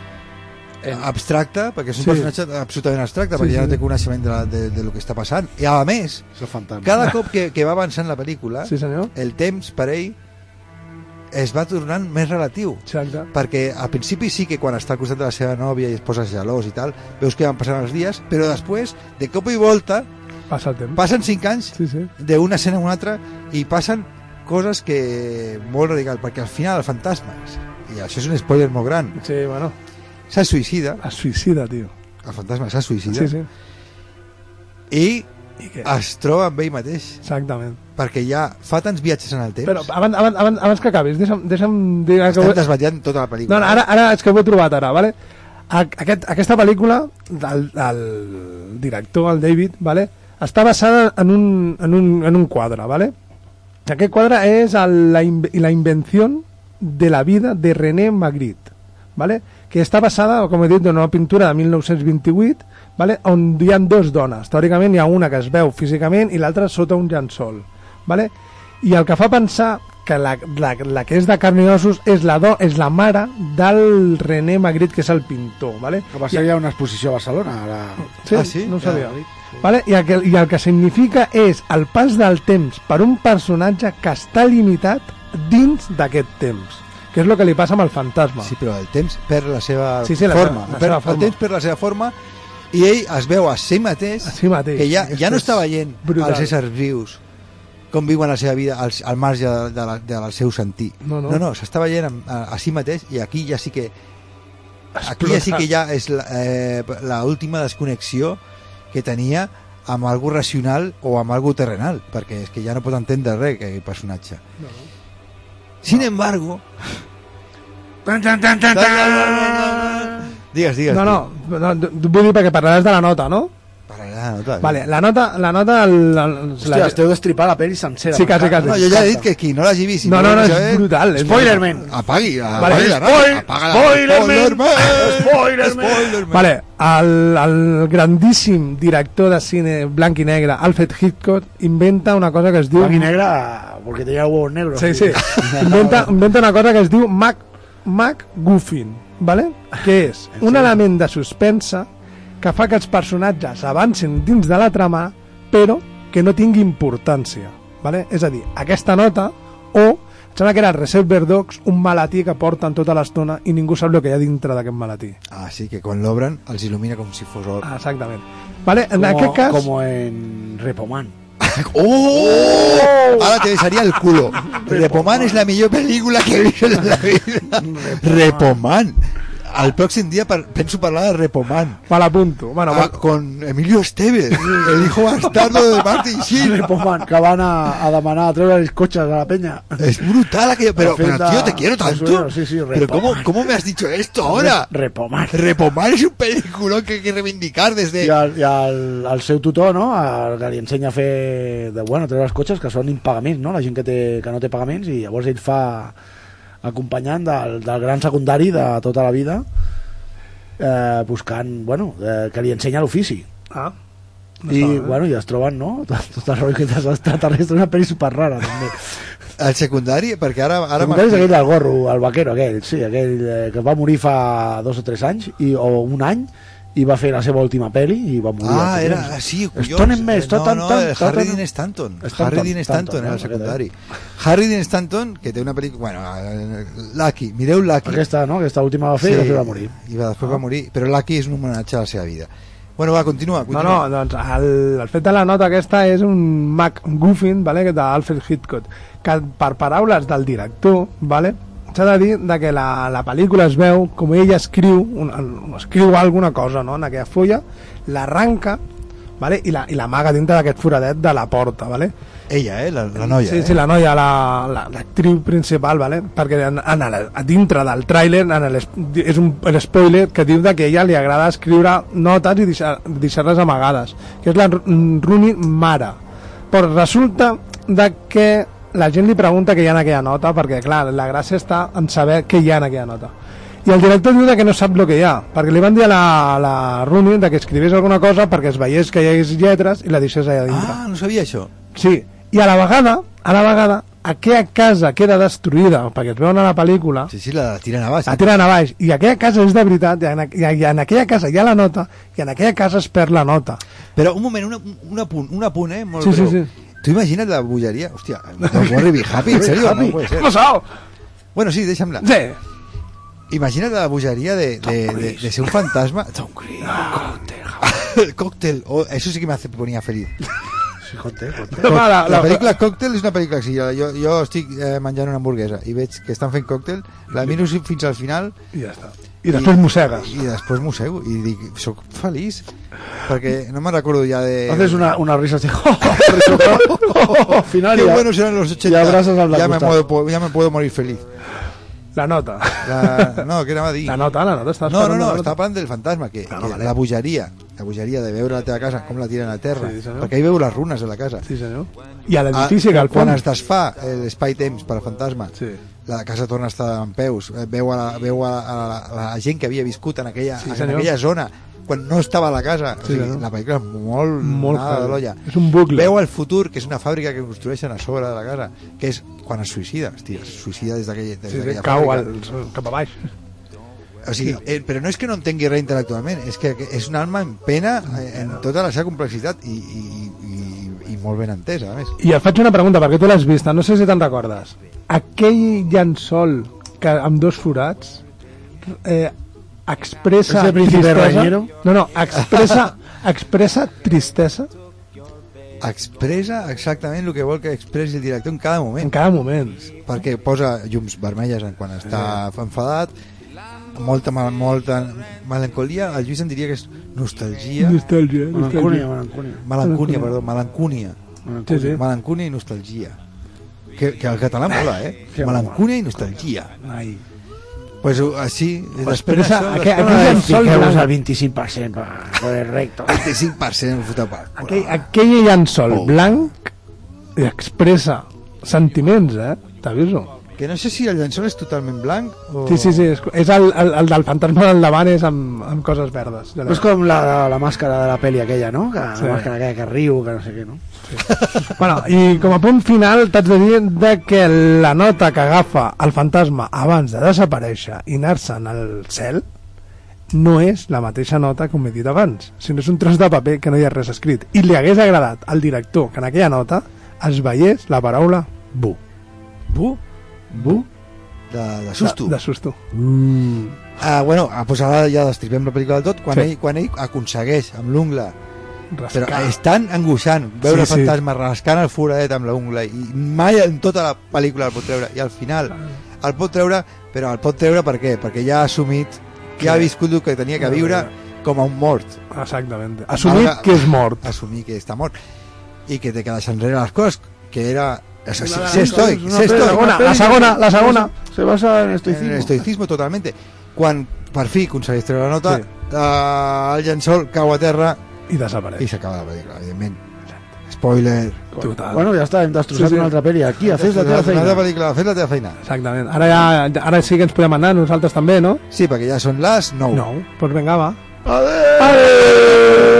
B: abstracte, perquè és un
D: Sí.
B: personatge absolutament abstracte,
D: Sí,
B: perquè ja
D: sí.
B: no té coneixement de, la, de, de lo que està passant, i a més,
E: És el fantasma.
B: cada cop que, que va avançant la pel·lícula,
D: sí senyor.
B: el temps per ell es va tornant més relatiu
D: Exacte.
B: perquè al principi sí que quan està al costat de la seva nòvia i es posa gelós i tal, veus que van passant els dies, però després, de cop i volta,
D: Passa el temps.
B: passen 5 anys
D: Sí, sí.
B: d'una escena a una altra i passen coses que molt radical, perquè al final el fantasma i això és un spoiler molt gran
D: Sí, bueno,
B: se suïcida,
D: es suïcida, tio.
B: el fantasma se suïcida
D: Sí, sí.
B: i
D: I què?
B: es troba amb ell mateix
D: Exactament.
B: perquè ja fa tants viatges en el temps
D: Però abans, abans, abans, abans que acabis, deixa'm, deixa'm dir... Que
B: estan
D: ho...
B: desvetllant tota la pel·lícula
D: No, no, ara, ara és que ho he trobat ara, vale? A- Aquest, aquesta pel·lícula, el, el director, el David, vale? està basada en un, en un, en un quadre, vale? Aquest quadre és el, la, in, la invenció de la vida de René Magritte, ¿vale? que està basada, com he dit, en una pintura de 1928, ¿vale? on hi ha dues dones. Teòricament hi ha una que es veu físicament i l'altra sota un llençol. ¿vale? I el que fa pensar que la, la, la que és de carn i ossos és la, do, és la mare del René Magritte, que és el pintor. ¿vale?
E: Que va ser ja una exposició a Barcelona. A la...
D: Sí,
B: Ah, sí?
D: No ho
B: Ja,
D: sabia. Vale? I, el que, I el que significa és el pas del temps per un personatge que està limitat dins d'aquest temps, que és el que li passa amb el fantasma.
B: Sí, però el temps perd la seva
D: Sí, sí, la
B: forma.
D: seva- la
B: perd,
D: seva forma.
B: El temps perd la seva forma i ell es veu a si mateix,
D: A si mateix.
B: que ja, ja no
D: Això
B: està
D: és
B: veient
D: brutal.
B: els éssers vius com viuen la seva vida al, al marge de, de, la, de, del seu sentir.
D: No, no.
B: no, no s'està veient amb- a, a si mateix i aquí ja sí que aquí ja sí que ja és la, eh, la última desconnexió que tenia amb algú racional o amb algú terrenal, perquè és que ja no pot entendre res aquell personatge. No, no. Sin embargo...
I: Tan, tan, tan, tan, tan.
B: Digues, digues.
D: No, no, no, d- vull dir perquè parlaràs de la nota, no?
B: Per allà, no, tal.
D: Vale, la nota... La nota el, el,
E: Hòstia,
D: la...
E: esteu destripant la pel·li sencera.
D: Sí, quasi, quasi.
B: No, jo ja he dit que qui no l'hagi vist... i
D: No, no, no,
B: vulgui
D: és
B: saber,
D: brutal. És
E: Spoilerman.
B: Apagui, apagui
D: Vale,
B: la
I: spoil-
B: ràdio. Ah, Apaga la
I: spoilerman.
B: Spoilerman!
I: Spoilerman.
B: Spoilerman!
D: Vale, el, el grandíssim director de cine blanc i negre, Alfred Hitchcock, inventa una cosa que es diu...
E: Blanc i negre, porque tenía huevos negros.
D: Sí, sí. Inventa, inventa una cosa que es diu Mac, Mac Goofin, ¿vale? que és un element de suspensa que fa que els personatges avancin dins de la trama, però que no tingui importància. ¿vale? És a dir, aquesta nota o Sembla que era el Reserver Dogs, un malatí que porten tota l'estona i ningú sap el que hi ha dintre d'aquest malatí.
B: Ah, sí, que quan l'obren els il·lumina com si fos or.
D: Ah, Exactament. Vale, en
E: Como-
D: aquest cas...
E: Como en Repoman.
B: Ah, ¡Oh! Ahora te besaría el culo. Repoman es la mejor película que he visto en la vida. Repoman. Al próximo día par- pienso hablar de Repoman.
D: Me l'apunto. Bueno,
B: Ah,
D: va,
B: con Emilio Esteves, el hijo bastardo de Martin Sheen.
E: Repoman, que van a, a demanar a treure els cotxes a la penya.
B: Es brutal aquello. Pero, pero, tío, te quiero tanto.
E: Sí, sí,
B: Pero
E: Repoman.
B: ¿cómo, ¿cómo me has dicho esto ahora?
E: Repoman.
B: Repoman es un película que hay que reivindicar
E: I,
B: desde...
E: al, i al, al seu tutor, no? El que li ensenya a fer de, bueno, treure els cotxes que són impagaments, no? La gent que, té, que no té pagaments i llavors ell fa acompanyant del, del gran secundari de tota la vida eh, buscant, bueno, eh, que li ensenya l'ofici.
D: ah,
E: I, bueno, i es troben, no? Tot, tot el rotllo dels extraterrestres, una pel·li superrara, també.
B: Al secundario, porque ahora... ahora
E: Secundari és Em aquell del gorro, el vaquero aquell, sí, aquell eh, que va morir fa dos o tres anys, i, o un any, i va fer la seva última pel·li i va morir.
B: Ah,
E: al
B: era
E: temps.
B: así,
E: Stone and Mess,
B: no,
E: Totten,
B: no,
E: Totten,
B: el Harry
E: Totten.
B: Dean Stanton.
E: Stanton,
B: Harry Dean Stanton
E: Stanton,
B: era el
E: no,
B: secundari. Harry Dean Stanton, que té una pel·lícula... Bueno, eh, Lucky, mireu Lucky.
D: este
E: Aquesta, no? Aquesta última va fer i després va morir.
B: I va, després va morir, però Lucky és un homenatge a la seva vida. Bueno, va, continua,
D: no,
B: continua.
D: no, doncs el, el fet de la nota aquesta és un MacGuffin vale, d'Alfred Hitchcock, que per paraules del director vale, s'ha de dir de que la, la pel·lícula es veu com ell escriu, un, un- escriu alguna cosa no, en aquella fulla, l'arranca vale, i la- i l'amaga la, dintre d'aquest foradet de la porta. Vale?
B: Ella, eh, la, la noia.
D: Sí,
B: eh?
D: sí, la noia, la- la- l'actriu la, principal, vale? perquè en, en el, a dintre del tràiler en el, es- és un el spoiler que diu de que a ella li agrada escriure notes i deixar- deixar-les deixar amagades, que és la Ru- Rooney Mara. Però resulta de que la gent li pregunta què hi ha en aquella nota, perquè clar, la gràcia està en saber què hi ha en aquella nota. I el director diu de que no sap el que hi ha, perquè li van dir a la, la Rooney de que escrivís alguna cosa perquè es veiés que hi hagués lletres i la deixés allà dintre.
B: Ah, no sabia això.
D: Sí, i a la vegada, a la vegada, aquella casa queda destruïda, perquè es veuen a la pel·lícula,
B: Sí, sí, la tiren a base.
D: la tiren a baix, i aquella casa és de veritat, i en, aqu- i en- i en aquella casa hi ha la nota, i en aquella casa es perd la nota.
B: Però un moment, una, un apunt, un apunt, eh, molt
D: Sí, sí,
B: breu.
D: sí.
B: Tu imagina't la bulleria? Hòstia, no, Morri Be Happy, en serio, no puede ser.
D: passat?
B: Bueno, sí, deixa'm-la.
D: Sí.
B: Imagina't la bulleria de, de, de, de ser un fantasma. Tom Cruise. Cóctel. Oh, eso sí que me hace, ponía feliz.
E: Sí, conté, conté.
D: Ah, No, va,
B: La,
D: la, la,
B: película Cóctel és una pel·lícula que si jo, jo, jo estic eh, menjant una hamburguesa i veig que estan fent còctel, la miro si- fins al final
D: I ja està. I després mossegues.
B: i després mossego i dic, soc feliç perquè no me'n recordo ja de...
E: Haces una, una risa así. Final
B: oh, Qué
E: y ya.
B: buenos eran los 80.
E: Y abrazas al
B: ya me,
E: Dakota.
B: puedo, ya me puedo morir feliz.
D: La nota.
B: La- no, que anava a dir?
D: La nota, la nota. Estàs
B: No, no,
D: parlant de
B: no,
D: la nota.
B: està parlant del fantasma, que, que la bogeria, la bogeria de veure la teva casa, com la tiren a terra,
D: Sí, senyor.
B: perquè hi veu les runes de la casa.
D: Sí, senyor. I
B: Ah,
D: a l'edifici que al
B: quan es
D: fons...
B: desfà eh, l'espai-temps per al fantasma,
D: Sí.
B: la casa torna a estar en peus, eh, veu a la, veu a la, a la, a la gent que havia viscut en aquella,
D: Sí,
B: en
D: senyor.
B: aquella zona, quan no estava a la casa. o
D: Sí,
B: sigui,
D: senyor.
B: la pel·lícula és molt,
D: Molt
B: nada de
D: heavy.
B: l'olla.
D: És un bucle.
B: Veu el futur, que és una fàbrica que construeixen a sobre de la casa, que és quan es suïcida, hòstia, es suïcida des d'aquella des
D: Sí, sí,
B: d'aquella
D: cau
B: fàbrica.
D: al, cap a baix.
B: O sigui, eh, però no és que no entengui res intel·lectualment, és que que és una alma en pena eh, en tota la seva complexitat i, i, i, i- i molt ben entesa, a més.
D: I et faig una pregunta, perquè tu l'has vista, no sé si te'n recordes. Aquell llençol que amb dos forats eh, expressa
E: Ese príncipe
D: tristesa...
E: Raniero?
D: No, no, expressa, expressa tristesa
B: Expressa exactament el que vol que expressi el director en cada
D: en
B: moment,
D: cada moment.
B: perquè posa llums vermelles en quan està enfadat, molta, mal, molta melancolia, el Lluís em diria que és nostalgia,
D: Nostàlgia,
E: Malencunia, malencunia.
B: melancúnia, perdó, melancúnia,
D: Sí, sí.
B: melancúnia i nostalgia. Que, que el català mola, eh? Melancúnia i nostalgia.
D: Ai.
B: Pues uh, així, després
D: Expressa
B: d'això, després
D: aquell, aquell
E: Ay,
D: llençol
E: fijemos al
D: blanc.
E: 25% para poder recto.
B: 25% el fotre part.
D: Aquell, aquell
E: Oh.
D: llençol blanc expressa sentiments, eh? T'aviso.
B: Que no sé si el llençol és totalment blanc o...
D: Sí, sí, sí, és, és el, el, el del fantasma del davant és amb, amb coses verdes. Ja l'he-
E: No es como Pues la, la máscara de la peli aquella, ¿no? Que
D: Sí.
E: La máscara aquella que río, que no sé qué, ¿no?
D: Bueno, i com a punt final t'haig de dir de que la nota que agafa el fantasma abans de desaparèixer i anar-se'n al cel no és la mateixa nota com he dit abans, sinó és un tros de paper que no hi ha res escrit. I li hagués agradat al director que en aquella nota es veiés la paraula bu. Bu? Bu?
B: de, de susto.
D: De, de susto.
B: Ah, bueno, ah, doncs ara ja destripem la pel·lícula del tot, quan,
D: Sí.
B: ell, quan ell aconsegueix amb l'ungla
D: Rascar.
B: però és tan angoixant veure
D: Sí,
B: sí,
D: sí.
B: fantasmes rascant el foradet amb l'ungla i mai en tota la pel·lícula el pot treure i al final el pot treure però el pot treure per què? perquè ja ha assumit ja ha viscut el que tenia que viure com a un mort
D: Exactament. Assumit
B: Ara-
D: que és mort.
B: assumir que està mort i que te quedes enrere les coses que era és
E: Una de
B: estoic,
E: les
B: ser estoic,
E: coses, una
B: ser
E: peli-
B: estoic.
E: una peli-
D: La segona, la segona.
E: Se basa en
B: En
E: estoicismo.
B: estoicismo totalmente. Quan per fi aconsegueix treure la nota,
D: Sí.
B: eh, el llençol cau a terra
D: I
B: i
D: desapareix.
B: s'acaba la pel·lícula, evidentment. Spoiler.
D: Total.
E: Bueno, ja està, hem destrossat
D: Ah. Sí, sí.
E: una altra pel·li. Aquí, a fes la teva
B: Fes la
E: feina.
B: pel·lícula, fes la teva feina.
D: Exactament. Ara, ja, ara sí que ens podem anar, nosaltres també, no?
B: Sí, perquè ja són les 9.
D: No. Doncs vinga, va.
E: Adéu!